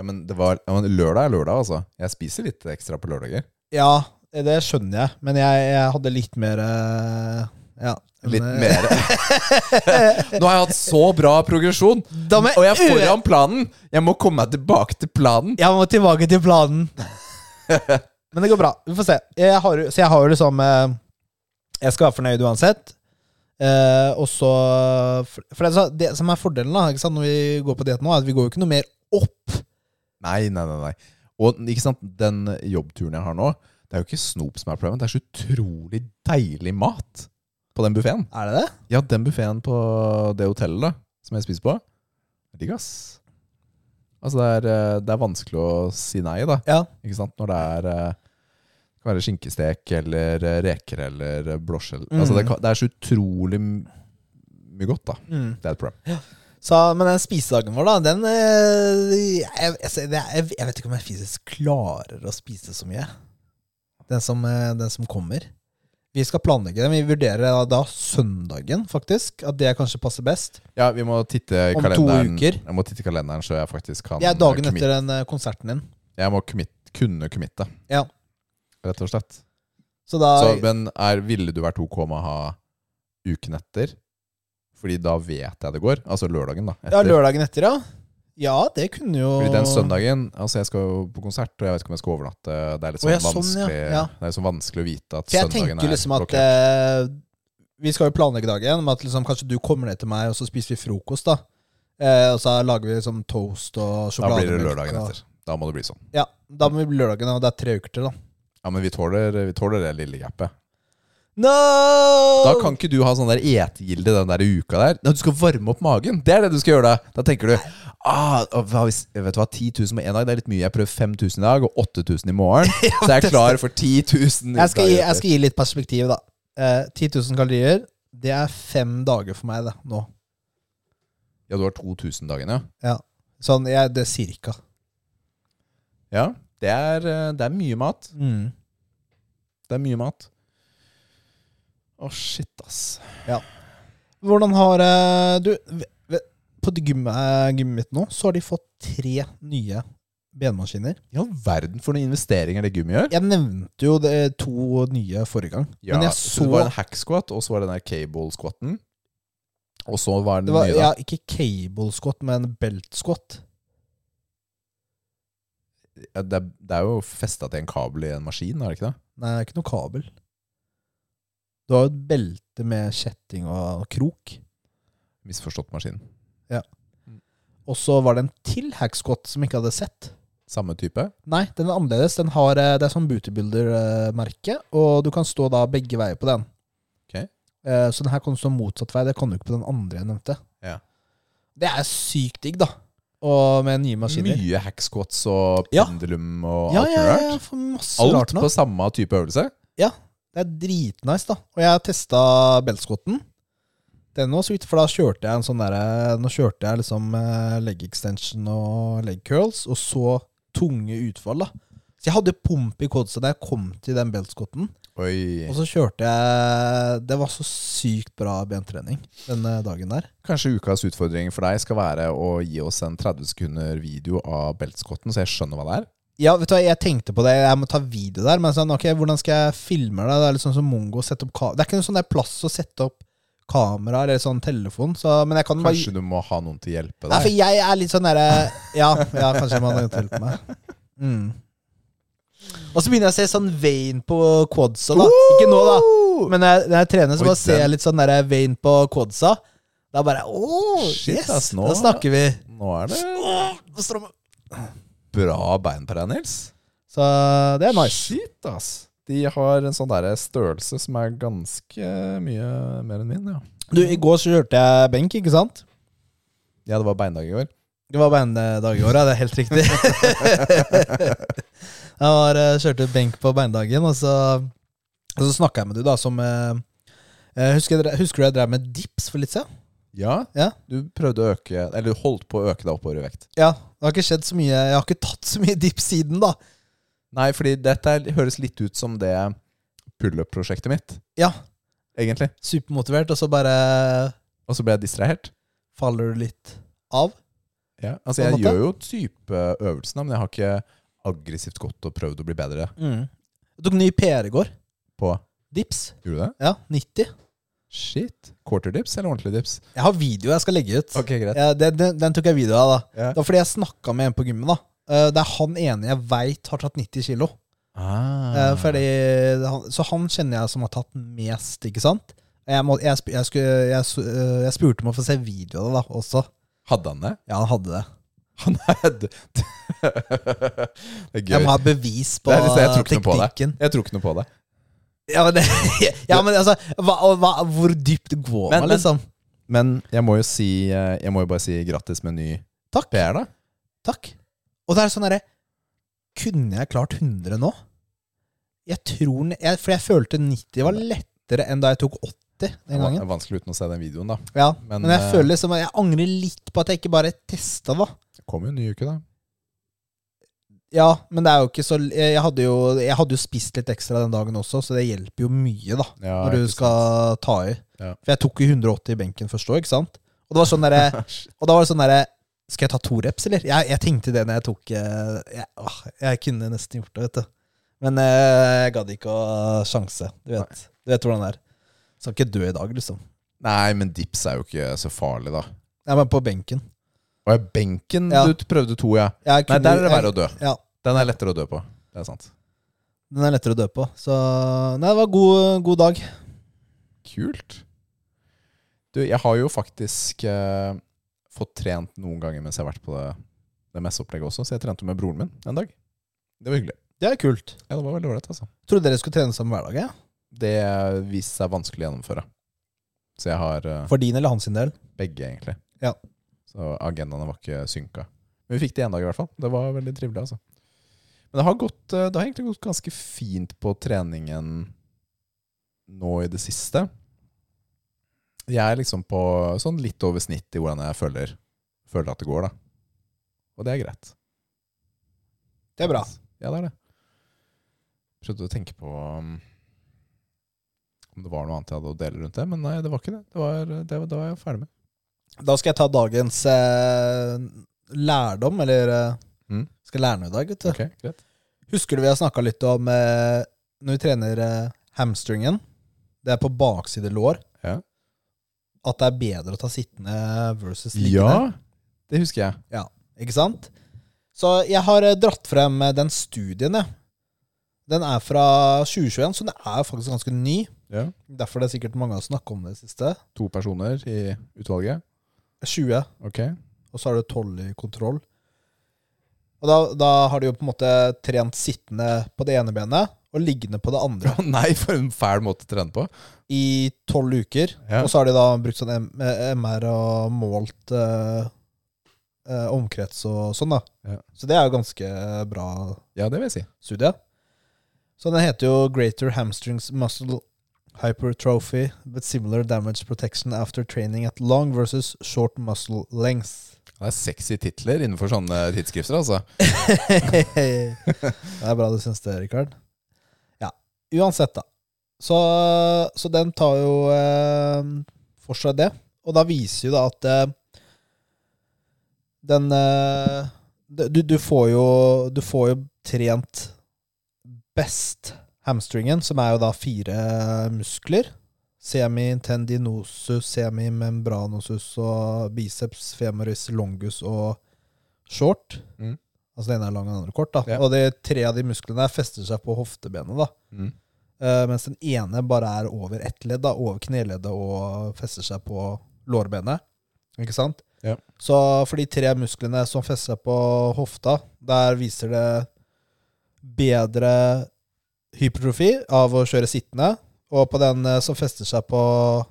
S2: Ja, men det var, ja, men lørdag er lørdag, altså. Jeg spiser litt ekstra på lørdager.
S1: Ja, det skjønner jeg, men jeg, jeg hadde litt mer eh, ja.
S2: Litt
S1: Men, eh,
S2: mer. Nå har jeg hatt så bra progresjon,
S1: Da må
S2: og jeg er
S1: ø-
S2: foran planen. Jeg må komme meg tilbake til planen.
S1: Jeg må tilbake til planen. Men det går bra. Vi får se. Jeg har, jo- så jeg har jo liksom eh, Jeg skal være fornøyd uansett. Eh, og så For for det, så- det som er fordelen da ikke sant, når vi går på diett nå, er at vi går jo ikke noe mer opp.
S2: Nei, nei, nei, nei. Og ikke sant, den jobbturen jeg har nå, Det er jo ikke snop som er problemet, det er så utrolig deilig mat på den buffeen.
S1: Er det det?
S2: Ja, den buffeen på det hotellet da, som jeg spiser på, er digg, ass. Altså, det er, eh, det er vanskelig å si nei, da.
S1: Ja.
S2: Ikke sant? Når det er eh, det kan være skinkestek eller eh, reker eller eh, blåskjell.
S1: Mm.
S2: Altså, det, kan, det er så utrolig m- mye godt, da.
S1: Mm.
S2: Det er et problem.
S1: Så, men den spisedagen vår, da, den eh, jeg, altså, det er- jeg, jeg vet ikke om jeg fysisk klarer å spise så mye. Den som, eh, den som kommer. Vi skal planlegge den. Vi vurderer da, da søndagen, faktisk. At det kanskje passer best.
S2: Ja, vi må titte i
S1: Om to
S2: kalenderen.
S1: uker.
S2: Jeg må titte i kalenderen så jeg faktisk kan
S1: Det er dagen
S2: eh, commit-
S1: etter den eh, konserten din.
S2: Jeg må commit, kunne committe,
S1: Ja.
S2: rett og slett.
S1: Så da
S2: Så, men er, ville du vært OK med å ha uken etter? Fordi da vet jeg det går. Altså lørdagen, da.
S1: Ja,
S2: Etter.
S1: lørdagen etter, ja. Ja, det kunne jo
S2: Fordi den søndagen Altså, jeg skal jo på konsert, og jeg vet ikke om jeg skal overnatte. Det er litt
S1: Å,
S2: sånn,
S1: ja, sånn, ja.
S2: vanskelig,
S1: Ja.
S2: Det er litt sånn vanskelig å vite at
S1: For jeg
S2: søndagen
S1: tenker
S2: er
S1: liksom at
S2: blokkert.
S1: eh, Vi skal jo planlegge dagen, men at liksom kanskje du kommer ned til meg, og så spiser vi frokost, da. Eh, og så lager vi liksom toast og
S2: Da
S1: sjokolade.
S2: blir det lørdagen etter. Da må det bli sånn.
S1: Ja, da må vi bli lørdagen, og det er tre uker til, da.
S2: Ja, men vi tåler, vi tåler det lille gapet.
S1: No!
S2: Da kan ikke du ha sånn der etegilde den der uka der. Nei, du skal varme opp magen. Det er det du skal gjøre da. Da tenker du ah, å, hva hvis, Vet du hva, 10 000 på én dag, det er litt mye. Jeg prøver 5000 i dag og 8000 i morgen. Så jeg er klar for 10 000.
S1: jeg, skal gi,
S2: dager
S1: jeg
S2: etter.
S1: skal gi litt perspektiv, da. Eh, 10 000 kalorier, det er fem dager for meg, det, nå.
S2: Ja, du har 2000 dagene,
S1: Ja. Sånn, jeg, det er cirka.
S2: ja. ja det, er, eh, det er mye mat.
S1: Mm.
S2: Det er mye mat. Å, shit, ass.
S1: Hvordan har eh, Du, v- v- på det gymmet, eh, gymmet mitt nå, så har de fått tre nye benmaskiner.
S2: I all verden for noen investeringer det gummi gjør.
S1: Jeg nevnte jo det to nye forrige gang, men jeg så,
S2: Det var en hack squat, og så var det den der cable squatten. Og så var den
S1: det var,
S2: nye, da.
S1: ja, Ikke cable squat, men belt squat.
S2: Ja, det, er, det er jo festa til en kabel i en maskin, er det ikke det?
S1: Nei, det er ikke noe kabel. Du har jo et belte med kjetting og krok.
S2: Misforstått maskin.
S1: Og så var det en til hack squat som jeg ikke hadde sett.
S2: Samme type.
S1: Nei, den er annerledes. Den har, eh, det er sånn bootybuilder-merke, og du kan stå da begge veier på den.
S2: Ok.
S1: Eh, Så den her kan du stå motsatt vei. Det kan du ikke på den andre jeg nevnte.
S2: Ja.
S1: Det er sykt digg, da. Og med nye maskiner.
S2: Mye hack squats og
S1: Ja.
S2: pendulum og
S1: Ja,
S2: alt
S1: ja,
S2: mulig
S1: ja,
S2: rart.
S1: ja, for masse
S2: Alt
S1: rart nå.
S2: på samme type øvelse.
S1: Det er dritnice, da. Og jeg testa beltskotten. Den nå, så vidt, for da kjørte jeg en sånn derre Nå kjørte jeg liksom eh, leg extension og leg curls, og så tunge utfall, da. Så jeg hadde pump i kodsa da jeg kom til den beltskotten.
S2: Oi.
S1: Og så kjørte jeg Det var så sykt bra bentrening den eh, dagen der.
S2: Kanskje ukas utfordring for deg skal være å gi oss en 30 sekunder video av beltskotten, så jeg skjønner hva det er.
S1: Ja, vet du hva, jeg tenkte på det. Jeg må ta video der. Men sånn, ok, hvordan skal jeg filme det? Det er litt sånn som Mongo. Sette opp ka- det er ikke noe sånn der plass å sette opp kamera eller sånn telefon. Så, men jeg kan bare
S2: Kanskje du må ha noen til å hjelpe
S1: Nei, for
S2: deg.
S1: jeg er litt sånn derre ja, ja, kanskje man har hjulpet meg. Mm. Og så begynner jeg å se sånn vein på quadsa, da. Ikke nå, da. Men når jeg, når jeg trener, så
S2: Oi,
S1: bare ser jeg
S2: den.
S1: litt sånn derre vein på quadsa. Da bare åh,
S2: Shit,
S1: yes!
S2: ass, nå-
S1: Da snakker vi.
S2: Nå er det
S1: Åh, nå strammer-
S2: bra bein på deg, Nils.
S1: Så det er nice.
S2: Shit, ass. De har en sånn der størrelse som er ganske mye mer enn min, ja.
S1: Du, I går så kjørte jeg benk, ikke sant?
S2: Ja, det var beindag i går.
S1: Det var beindag i år, ja. Det er helt riktig. jeg var, eh, kjørte benk på beindagen, og så, og så snakka jeg med du da som eh, eh, husker, dere- husker du jeg drev med dips for litt siden?
S2: Ja,
S1: Ja.
S2: du prøvde å øke Eller du holdt på å øke deg oppover i vekt.
S1: Ja, det har ikke skjedd så mye. Jeg har ikke tatt så mye dips siden, da.
S2: Nei, fordi dette er- høres litt ut som det pullup-prosjektet mitt,
S1: Ja,
S2: egentlig.
S1: supermotivert, og så bare
S2: Og så ble jeg distrahert.
S1: faller du litt av.
S2: Ja, altså,
S1: På en
S2: jeg
S1: måte.
S2: gjør jo type øvelsene, men jeg har ikke aggressivt gått og prøvd å bli bedre
S1: Jeg tok ny PR i går.
S2: på
S1: Dips.
S2: Gjorde du det?
S1: Ja, 90.
S2: Shit. Quarter dips eller ordentlig dips?
S1: Jeg har video jeg skal legge ut.
S2: Ok, greit.
S1: Ja, den, den, den tok jeg video av, da.
S2: Ja.
S1: Det var fordi jeg snakka med en på gymmet. da Eh, Det er han ene jeg veit har tatt 90 kilo. Eh,
S2: Ah.
S1: Fordi han, så han kjenner jeg som har tatt mest, ikke sant? Jeg, må, jeg, sp- jeg, skulle, jeg, s- eh, jeg spurte om å få se video av det da også.
S2: Hadde han det?
S1: Ja, han hadde det.
S2: Han er d- Det er
S1: Jeg
S2: gøy.
S1: må ha bevis på
S2: Det er liksom, jeg tror ikke noe på det.
S1: teknikken.
S2: Jeg tror ikke noe på det.
S1: Ja, men, det, ja, men altså hva, og hva, Hvor dypt går
S2: Men-
S1: man,
S2: men-
S1: liksom?
S2: Men jeg må jo si eh, Jeg må jo bare si grattis med ny
S1: Takk.
S2: PR, da.
S1: Takk. Og det er sånn derre Kunne jeg klart 100 nå? Jeg tror den- jeg, For jeg følte 90 var lettere enn da jeg tok 80
S2: Det
S1: den gangen.
S2: var vanskelig uten å se den videoen, da.
S1: Ja,
S2: Men,
S1: men, jeg
S2: eh,
S1: føler liksom at jeg angrer litt på at jeg ikke bare testa, da.
S2: Det kom jo en ny uke, da.
S1: Ja, men det er jo ikke så Jeg hadde jo, jeg hadde jo spist litt ekstra den dagen også, så det hjelper jo mye, da.
S2: Ja,
S1: når
S2: ikke
S1: du skal ta i.
S2: Ja.
S1: For jeg tok jo 180 i benken først òg, ikke sant? Og det var sånn derre Og da var det sånn derre Skal jeg ta to reps, eller? Jeg, jeg tenkte det når jeg tok eh, jeg, åh, jeg kunne nesten gjort det, vet du. Men eh, jeg gadd ikke å sjanse. Du vet, du vet hvordan det er. Skal ikke dø i dag, liksom.
S2: Nei, men dips er jo ikke så farlig, da.
S1: Jeg var på benken.
S2: Og ja, benken
S1: Ja.
S2: du prøvde to, ja.
S1: Jeg
S2: Nei,
S1: kunne-
S2: der er det verre
S1: jeg-
S2: å dø.
S1: Ja.
S2: Den er lettere å dø på. Det er sant.
S1: Den er lettere å dø på. Så Nei, det var god, god dag.
S2: Kult. Du, jeg har jo faktisk eh, fått trent noen ganger mens jeg har vært på det, det messeopplegget også, så jeg trente med broren min en dag. Det var hyggelig.
S1: Det er kult.
S2: Ja, det var veldig ålreit, altså.
S1: Trodde dere skulle trene sammen hver dag? Ja?
S2: Det viste seg vanskelig å gjennomføre. Så jeg har eh,
S1: For din eller hans sin del?
S2: begge, egentlig.
S1: Ja.
S2: Så agendaene var ikke synka. Men vi fikk det én dag, i hvert fall. Det var veldig trivelig, altså. Men det har, gått, eh, det har egentlig gått ganske fint på treningen nå i det siste. Jeg er liksom på sånn litt over snitt i hvordan jeg føler, føler at det går, da. Og det er greit.
S1: Det er bra.
S2: Ja, det er det. Prøvde å tenke på um, om det var noe annet jeg hadde å dele rundt det, men nei, det var ikke det. Det var, det var, det var jeg ferdig med.
S1: Da skal jeg ta dagens eh, lærdom, eller eh,
S2: Mm.
S1: Skal lære noe i dag, vet du.
S2: Ok, greit.
S1: Husker du vi har snakka litt om eh, når vi trener eh, hamstringen? Det er på bakside lår.
S2: Ja.
S1: At det er bedre å ta sittende versus liggende.
S2: det husker jeg.
S1: Ikke sant? Så jeg har eh, dratt frem eh, den studien, jeg. Den er fra 2021, så den er faktisk ganske ny.
S2: Ja.
S1: Derfor det er sikkert mange har snakket om det siste.
S2: To personer i utvalget.
S1: 20,
S2: Ok.
S1: og så har du 12 i kontroll. Og da, da har du jo på en måte trent sittende på det ene benet og liggende på det andre
S2: Nei, for en fæl måte å trene på.
S1: i 12 uker.
S2: Ja.
S1: Og så har de da brukt sånn M- eh, MR og målt eh, eh, omkrets og sånn, da.
S2: Ja.
S1: Så det er jo ganske bra
S2: Ja, det vil jeg si.
S1: studie. Så den heter jo Greater Hamstrings Muscle Hypertrophy But Similar Damage Protection After Training at Long versus Short Muscle Length.
S2: Det er sexy titler innenfor sånne tidsskrifter, altså.
S1: det er bra du syns det, Rikard. Ja, uansett, da. Så, så den tar jo eh, for seg det. Og da viser jo da at eh, den eh, det- du, du, får jo, du får jo trent best hamstringen, som er jo da fire muskler. Semitendinosus, semimembranosus og biceps, femoris, longus og short. Altså den ene er lang og den andre kort. da
S2: Ja.
S1: Og de tre av de musklene der fester seg på hoftebenet. da
S2: Mm.
S1: Eh, Mens den ene bare er over ett ledd, da over kneleddet og fester seg på lårbenet. Ikke sant?
S2: Ja.
S1: Så for de tre musklene som fester seg på hofta, der viser det bedre hypertrofi av å kjøre sittende. Og på den eh, som fester seg på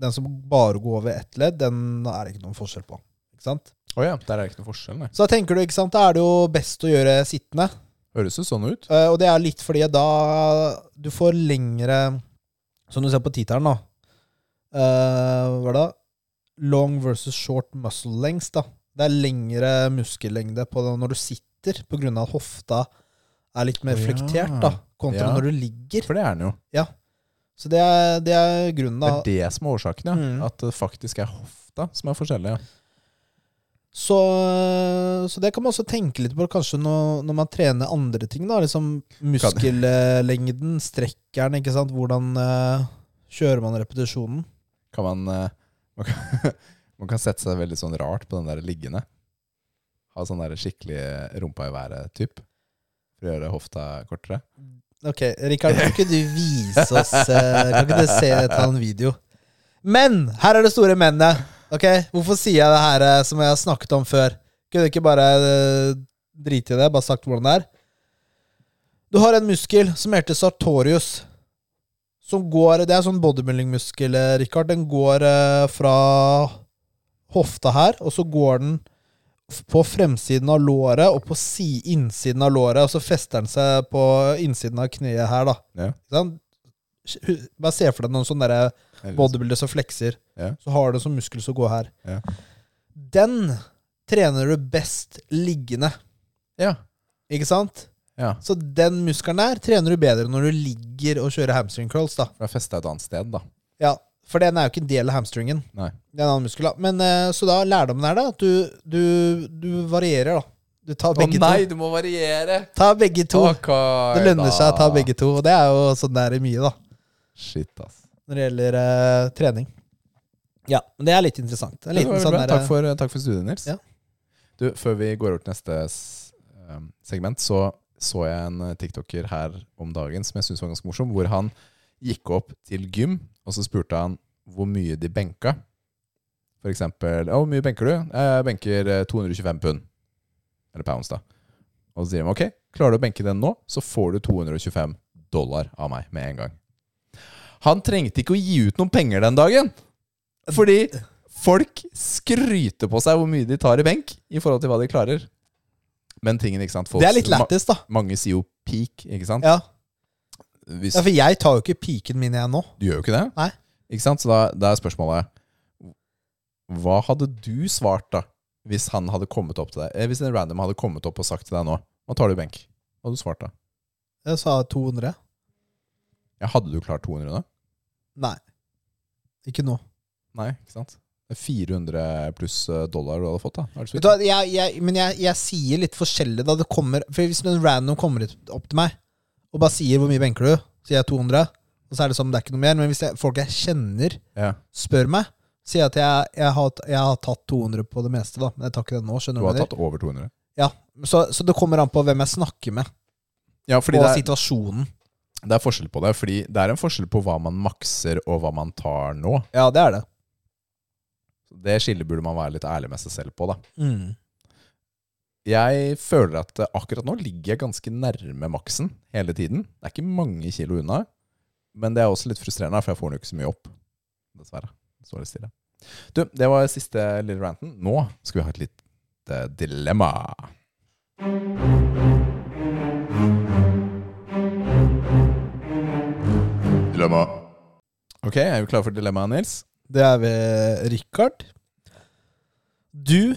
S1: den som bare går over ett ledd, den er det ikke noen forskjell på. Ikke sant?
S2: Å ja, der er det ikke noe forskjell, nei.
S1: Så da tenker du, ikke sant, da er det jo best å gjøre sittende.
S2: Høres jo sånn ut.
S1: Eh, Og det er litt fordi da du får lengre Som du ser på tittelen, da. Eh, hva er det? Long versus short muscle length. da. Det er lengre muskellengde på det når du sitter, på grunn av at hofta er litt mer
S2: Å, ja.
S1: flektert da, kontra
S2: Ja.
S1: når du ligger.
S2: For det er den jo.
S1: Så det er, det er grunnen.
S2: Det
S1: da.
S2: er det som er årsaken, ja.
S1: Mm.
S2: At det faktisk er hofta som er forskjellig. Ja.
S1: Så, eh, så det kan man også tenke litt på kanskje når, når man trener andre ting. da, liksom Muskellengden, strekkeren, ikke sant? hvordan eh, kjører man repetisjonen?
S2: Kan man, eh, man, kan, man kan sette seg veldig sånn rart på den der liggende. Ha sånn der skikkelig rumpa i været-typ. For å gjøre hofta kortere.
S1: Ok, Rikard, kan ikke du vise oss eh, Kan ikke du se ta en video? Men! Her er det store mennet. Ok, Hvorfor sier jeg det her eh, som jeg har snakket om før? Kunne ikke bare eh, drite i det, bare sagt hvordan det er. Du har en muskel som heter sartorius. Som går, det er sånn bodybuilding-muskel, eh, Richard. Den går eh, fra hofta her, og så går den f- på fremsiden av låret og på si innsiden av låret, og så fester den seg på innsiden av kneet her, da.
S2: Ja.
S1: Ikke sant? Hu- Bare se for deg noen sånne derre bodybuilder som flekser.
S2: Ja.
S1: Så har du en sånn muskel som går her.
S2: Ja.
S1: Den trener du best liggende,
S2: Ja.
S1: ikke sant?
S2: ja.
S1: Så den muskelen der trener du bedre når du ligger og kjører hamstring curls, da.
S2: For det er festa et annet sted, da.
S1: Ja, for den er jo ikke en del av hamstringen.
S2: Nei.
S1: Det er en annen muskel, da. Men, eh, så da, lærdommen er da at du, du, du varierer, da. Du tar begge to.
S2: du må variere!
S1: Ta begge to. Det lønner seg å ta begge to, og det er jo sånn det er i mye, da.
S2: Shit, ass.
S1: Når det gjelder eh, trening. Ja, men det er litt interessant. En
S2: Det var
S1: liten
S2: veldig
S1: sånn
S2: bra.
S1: der,
S2: takk, for, takk for studiet, Nils.
S1: Ja.
S2: Du, før vi går over til neste s- um, segment, så så jeg en eh, tiktoker her om dagen som jeg syntes var ganske morsom, hvor han gikk opp til gym, og så spurte han hvor mye de benka. For eksempel «Ja, 'Hvor mye benker du?' «Ja, 'Jeg benker eh, 225 pund.' Eller pounds, da. Og så sier de 'OK, klarer du å benke den nå, så får du 225 dollar av meg med en gang'. Han trengte ikke å gi ut noen penger den dagen, fordi Folk skryter på seg hvor mye de tar i benk i forhold til hva de klarer. Men tingen, ikke sant folk,
S1: Det er litt lættis, da.
S2: Ma mange sier jo peak, ikke sant?
S1: Ja.
S2: Hvis,
S1: ja, for jeg tar jo ikke piken min jeg nå.
S2: Du gjør jo ikke det.
S1: Nei.
S2: Ikke sant? Så da, da er spørsmålet Hva hadde du svart da hvis han hadde kommet opp til deg eh, Hvis en random hadde kommet opp og sagt til deg nå Hva tar du i benk? Hva hadde du svart da?
S1: Jeg sa 200.
S2: Ja, hadde du klart 200 da?
S1: Nei. Ikke nå.
S2: Nei, ikke sant? Det er 400 pluss eh, dollar du hadde fått da. Er det så
S1: Vet du hva, jeg, jeg, men jeg, jeg sier litt forskjellig da det kommer For hvis en random kommer ut- opp til meg og bare sier 'hvor mye benker du?' sier jeg 200, og så er det som det er ikke noe mer. Men hvis jeg, folk jeg kjenner,
S2: Ja.
S1: spør meg, sier jeg at jeg, jeg, har, jeg har tatt 200 på det meste, da. Men jeg tar ikke det nå, skjønner
S2: Du
S1: du hva jeg
S2: hadde
S1: mener?
S2: tatt over 200.
S1: Ja, så, så det kommer an på hvem jeg snakker med,
S2: Ja, fordi
S1: og
S2: det er,
S1: situasjonen.
S2: Det er forskjell på det, fordi det er en forskjell på hva man makser og hva man tar nå.
S1: Ja, det er det.
S2: Det skillet burde man være litt ærlig med seg selv på, da.
S1: Mm.
S2: Jeg føler at eh, akkurat nå ligger jeg ganske nærme maksen hele tiden. Det er ikke mange kilo unna, men det er også litt frustrerende, for jeg får den jo ikke så mye opp. Dessverre. Det Står litt stille. Du, det var siste lille ranten. Nå skal vi ha et lite dilemma. Dilemma. Ok, er du klar for dilemmaet, Nils?
S1: Det er ved Richard. Du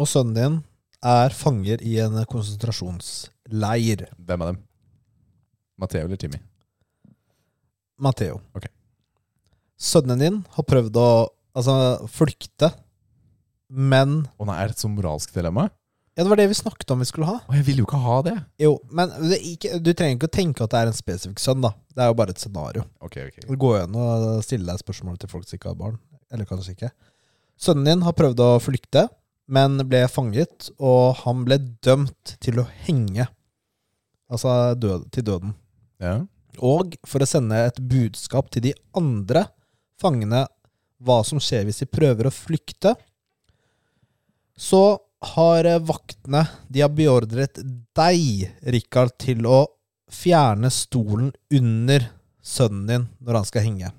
S1: og sønnen din er fanger i en konsentrasjonsleir.
S2: Hvem av dem? Matheo eller Timmy?
S1: Matheo.
S2: Ok.
S1: Sønnen din har prøvd å altså, flykte, men
S2: Å nei, er det et så moralsk dilemma?
S1: Ja, det var det vi snakket om vi skulle ha.
S2: Å, jeg ville jo ikke ha det.
S1: Jo, men det, er ikke, du trenger ikke å tenke at det er en spesifikk sønn, da. Det er jo bare et scenario.
S2: Ok, ok.
S1: Det går jo an å stille deg spørsmål til folk som ikke har barn. Eller kanskje ikke. Sønnen din har prøvd å flykte, men ble fanget, og han ble dømt til å henge. Altså død, til døden.
S2: Ja.
S1: Og for å sende et budskap til de andre fangene hva som skjer hvis de prøver å flykte, så har eh, vaktene De har beordret deg, Rikard, til å fjerne stolen under sønnen din når han skal henge.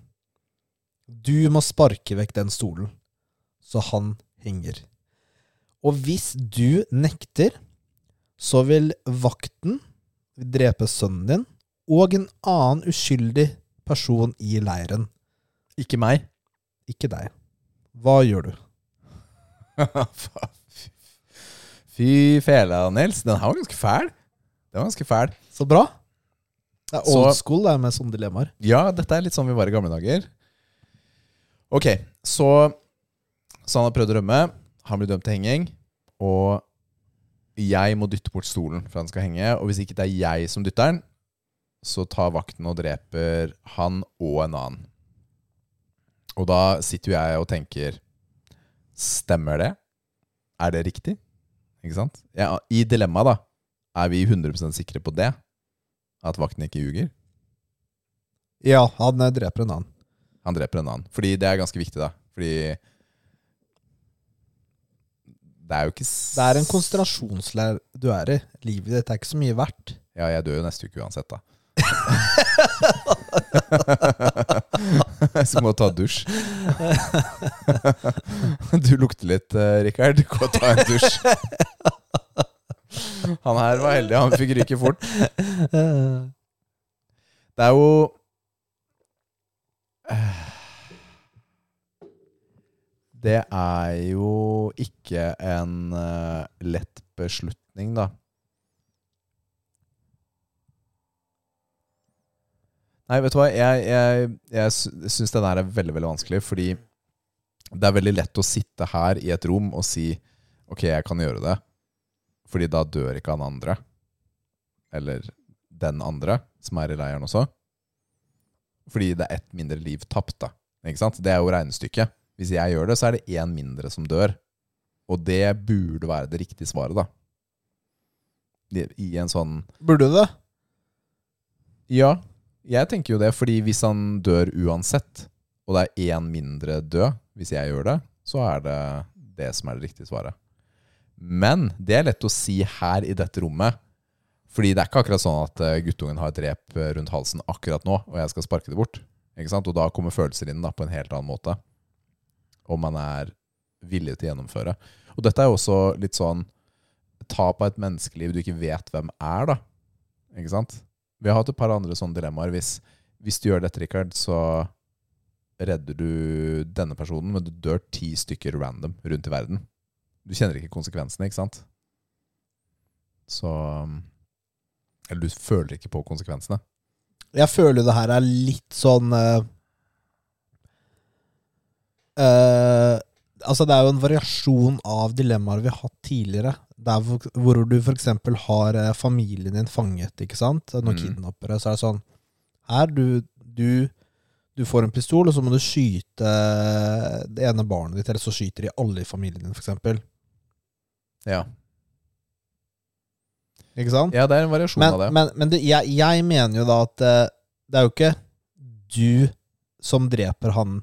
S1: Du må sparke vekk den stolen, så han henger. Og hvis du nekter, så vil vakten drepe sønnen din og en annen uskyldig person i leiren.
S2: Ikke meg.
S1: Ikke deg. Hva gjør du?
S2: Fy fela, Nils. Den her var ganske fæl. Den var ganske fæl.
S1: Så bra. Det er
S2: Så-
S1: old school det er med sånne dilemmaer.
S2: Ja, dette er litt sånn vi var i gamle dager. Ok, så Så han har prøvd å rømme. Han blir dømt til henging. Og jeg må dytte bort stolen for han skal henge. Og hvis ikke det er jeg som dytter den, så tar vakten og dreper han og en annen. Og da sitter jo jeg og tenker Stemmer det? Er det riktig? Ikke sant? Ja, I dilemmaet, da. Er vi 100 sikre på det? At vakten ikke ljuger?
S1: Ja, han eh, dreper en annen.
S2: Han dreper en annen. Fordi det er ganske viktig, da. Fordi Det er jo ikke s-
S1: Det er en konsentrasjonsleir du er i. Livet ditt er ikke så mye verdt.
S2: Ja, jeg dør jo neste uke uansett, da. Så må jeg ta dusj. Du lukter litt, eh, Rikard. Gå og ta en dusj. Han her var heldig, han fikk ryke fort.
S1: Eh,
S2: Det er jo eh, Det er jo ikke en eh, lett beslutning, da. Nei, vet du hva? Jeg, jeg, jeg sy- syns den her er veldig, veldig vanskelig, fordi det er veldig lett å sitte her i et rom og si Ok, jeg kan gjøre det, fordi da dør ikke han andre. Eller den andre, som er i leiren også. Fordi det er ett mindre liv tapt, da. Ikke sant? Det er jo regnestykket. Hvis jeg gjør det, så er det én mindre som dør. Og det burde være det riktige svaret, da. I i en sånn
S1: Burde du det?
S2: Ja, jeg tenker jo det, fordi hvis han dør uansett, og det er én mindre død hvis jeg gjør det, så er det det som er det riktige svaret. Men det er lett å si her i dette rommet, fordi det er ikke akkurat sånn at eh, guttungen har et rep eh, rundt halsen akkurat nå, og jeg skal sparke det bort. Ikke sant? Og da kommer følelser inn da, på en helt annen måte. Om man er villig til å gjennomføre. Og dette er jo også litt sånn tap av et menneskeliv du ikke vet hvem er, da. Ikke sant? Vi har hatt et par andre sånne dilemmaer. Hvis, hvis du gjør dette, Richard, så redder du denne personen, men du dør ti stykker random rundt i verden. Du kjenner ikke konsekvensene, ikke sant? Så Eller du føler ikke på konsekvensene.
S1: Jeg føler jo det her er litt sånn eh, eh, Altså, det er jo en variasjon av dilemmaer vi har hatt tidligere. Der hvor, hvor du f.eks. har eh, familien din fanget, ikke sant? Noen
S2: Mm.
S1: kidnappere. Så er det sånn Her, du, du Du får en pistol, og så må du skyte eh, det ene barnet ditt, eller så skyter de alle i familien din, f.eks.
S2: Ja,
S1: Ikke sant?
S2: det er en variasjon
S1: men,
S2: av det.
S1: Men, men det, jeg, jeg mener jo da at eh, det er jo ikke du som dreper han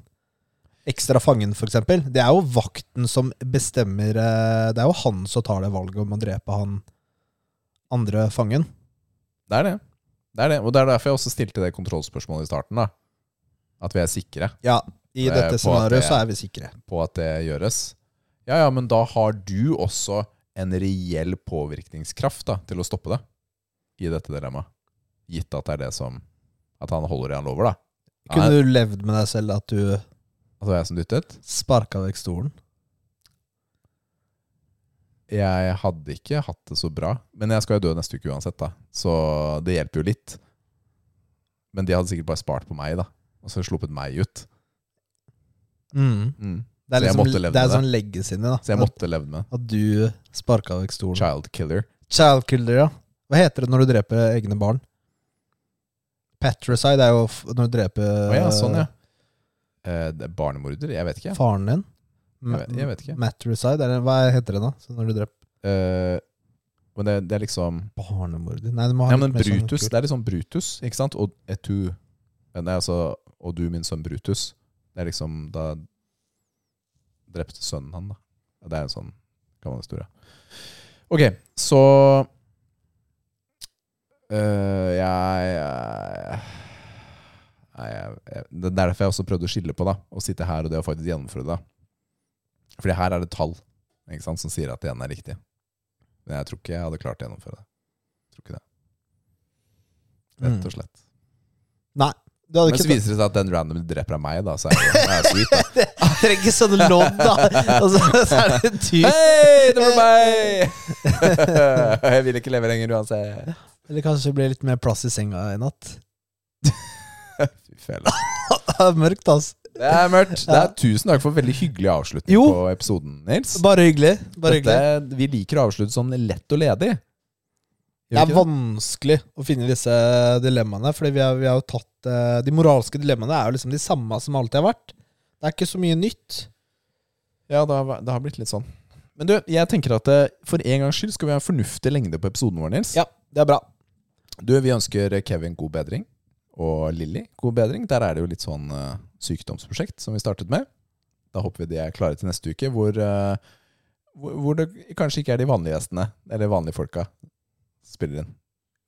S1: ekstra fangen, for eksempel. Det er jo vakten som bestemmer eh, Det er jo han som tar det valget om å drepe han andre fangen.
S2: Det er det. Det er det. Og det er derfor jeg også stilte det kontrollspørsmålet i starten. da. At vi er sikre.
S1: Ja, i
S2: Det er på
S1: dette
S2: at
S1: scenarioet
S2: det-
S1: så er vi sikre.
S2: på at det gjøres. Ja, ja, men da har du også en reell påvirkningskraft da, til å stoppe det i dette dilemmaet. Gitt at det er det som At han holder det han lover, da. Nei,
S1: Kunne du levd med deg selv at du
S2: altså jeg som dyttet?
S1: sparka vekk stolen?
S2: Jeg hadde ikke hatt det så bra. Men jeg skal jo dø neste uke uansett, da. Så det hjelper jo litt. Men de hadde sikkert bare spart på meg, da. Og så sluppet meg ut.
S1: Mm. Det
S2: Så
S1: er
S2: jeg
S1: liksom,
S2: måtte leve
S1: det er
S2: med
S1: sånn legacy, da.
S2: Så jeg måtte leve med
S1: At, at du sparka vekk stolen.
S2: child killer.
S1: Child killer, ja. Hva heter det når du dreper egne barn? Patricide er jo f- når du dreper
S2: Å ja, sånn, ja. Eh, det er barnemorder? Jeg vet ikke.
S1: eh, faren din.
S2: Jeg vet- jeg vet ikke.
S1: Matricide, eller hva heter det da? Så når du dreper
S2: Eh, men det, det er liksom
S1: barnemorder Nei, du må ha
S2: Ja,
S1: litt
S2: men
S1: mer sånn
S2: Brutus,
S1: kult.
S2: det er liksom Brutus, ikke sant? Og et du Men det er altså Og du, min sønn Brutus. Det er liksom da drepte sønnen han, da. Ja, Det er en sånn gammel historie. Ok, så øh, jeg, jeg, nei, jeg, jeg Det er derfor jeg også prøvde å skille på da å sitte her og det å faktisk gjennomføre det. da. Fordi her er det tall ikke sant, som sier at det ene er riktig. Men jeg tror ikke jeg hadde klart å gjennomføre det. Jeg tror ikke det. Rett og slett.
S1: Mm. Du hadde
S2: Men så
S1: ikke
S2: viser det seg at den random dreper av meg, da. Så er det, det er sweet, da.
S1: tatt trenger sånne lodd, da! Og så, så er det dyrt.
S2: Hei, det var meg! Jeg vil ikke leve lenger uansett.
S1: Eller kanskje det blir litt mer plass i senga i natt.
S2: Fy fele.
S1: Det er mørkt, altså.
S2: Det er mørkt. Det er Tusen takk for veldig hyggelig avslutning
S1: Jo.
S2: på episoden, Nils.
S1: Bare hyggelig. Bare hyggelig.
S2: Dette, vi liker å avslutte sånn lett og ledig. Gjør
S1: Det
S2: vi
S1: er
S2: ikke
S1: vanskelig å finne disse dilemmaene, fordi vi har, vi har jo tatt eh, De moralske dilemmaene er jo liksom de samme som alltid har vært. Det er ikke så mye nytt.
S2: Ja, det har, det har blitt litt sånn. Men du, jeg tenker at eh, for en gangs skyld skal vi ha en fornuftig lengde på episoden vår, Nils.
S1: Ja, det er bra.
S2: Du, vi ønsker Kevin god bedring, og Lilly god bedring. Der er det jo litt sånn eh, sykdomsprosjekt som vi startet med. Da håper vi de er klare til neste uke, hvor eh, hvor hvor det kanskje ikke er de vanlige gjestene, eller vanlige folka, spiller inn.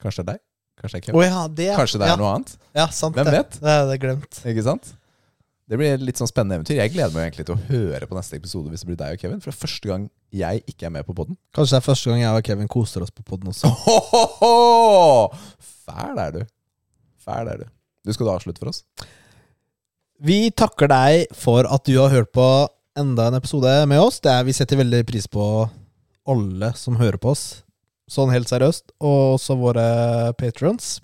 S2: Kanskje det er deg? Kanskje det er Kevin?
S1: Å ja, det, ja.
S2: Kanskje det er
S1: ja.
S2: noe annet?
S1: Ja, sant
S2: Hvem
S1: det.
S2: vet?
S1: Det hadde jeg glemt.
S2: Ikke sant? Det blir et litt sånn spennende eventyr. Jeg gleder meg egentlig til å høre på neste episode hvis det blir deg og Kevin. For det er første gang jeg ikke er med på poden.
S1: Kanskje det er første gang jeg og Kevin koser oss på poden også.
S2: Fæl er du. Fæl er du. Du skal da avslutte for oss?
S1: Vi takker deg for at du har hørt på enda en episode med oss. Det er, vi setter veldig pris på alle som hører på oss, sånn helt seriøst. Og også våre patrons.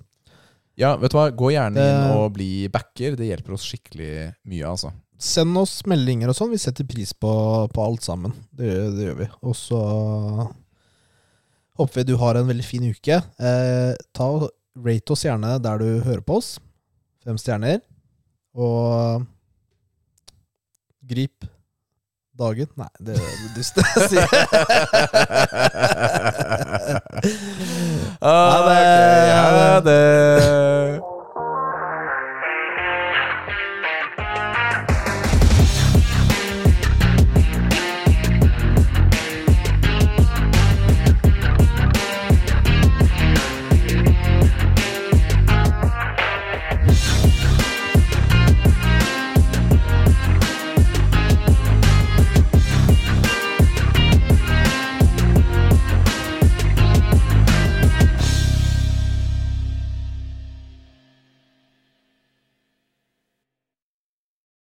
S2: Ja, vet du hva? Gå gjerne inn
S1: Det-
S2: og bli backer. Det hjelper oss skikkelig mye, altså.
S1: Send oss meldinger og sånn. Vi setter pris på, på alt sammen. Det, gjør- det gjør vi. Og så håper vi du har en veldig fin uke. Eh, ta og Rate oss gjerne der du hører på oss. Fem stjerner. Og grip dagen. Nei, det er dust å si.
S2: Ah, ok. Ha det.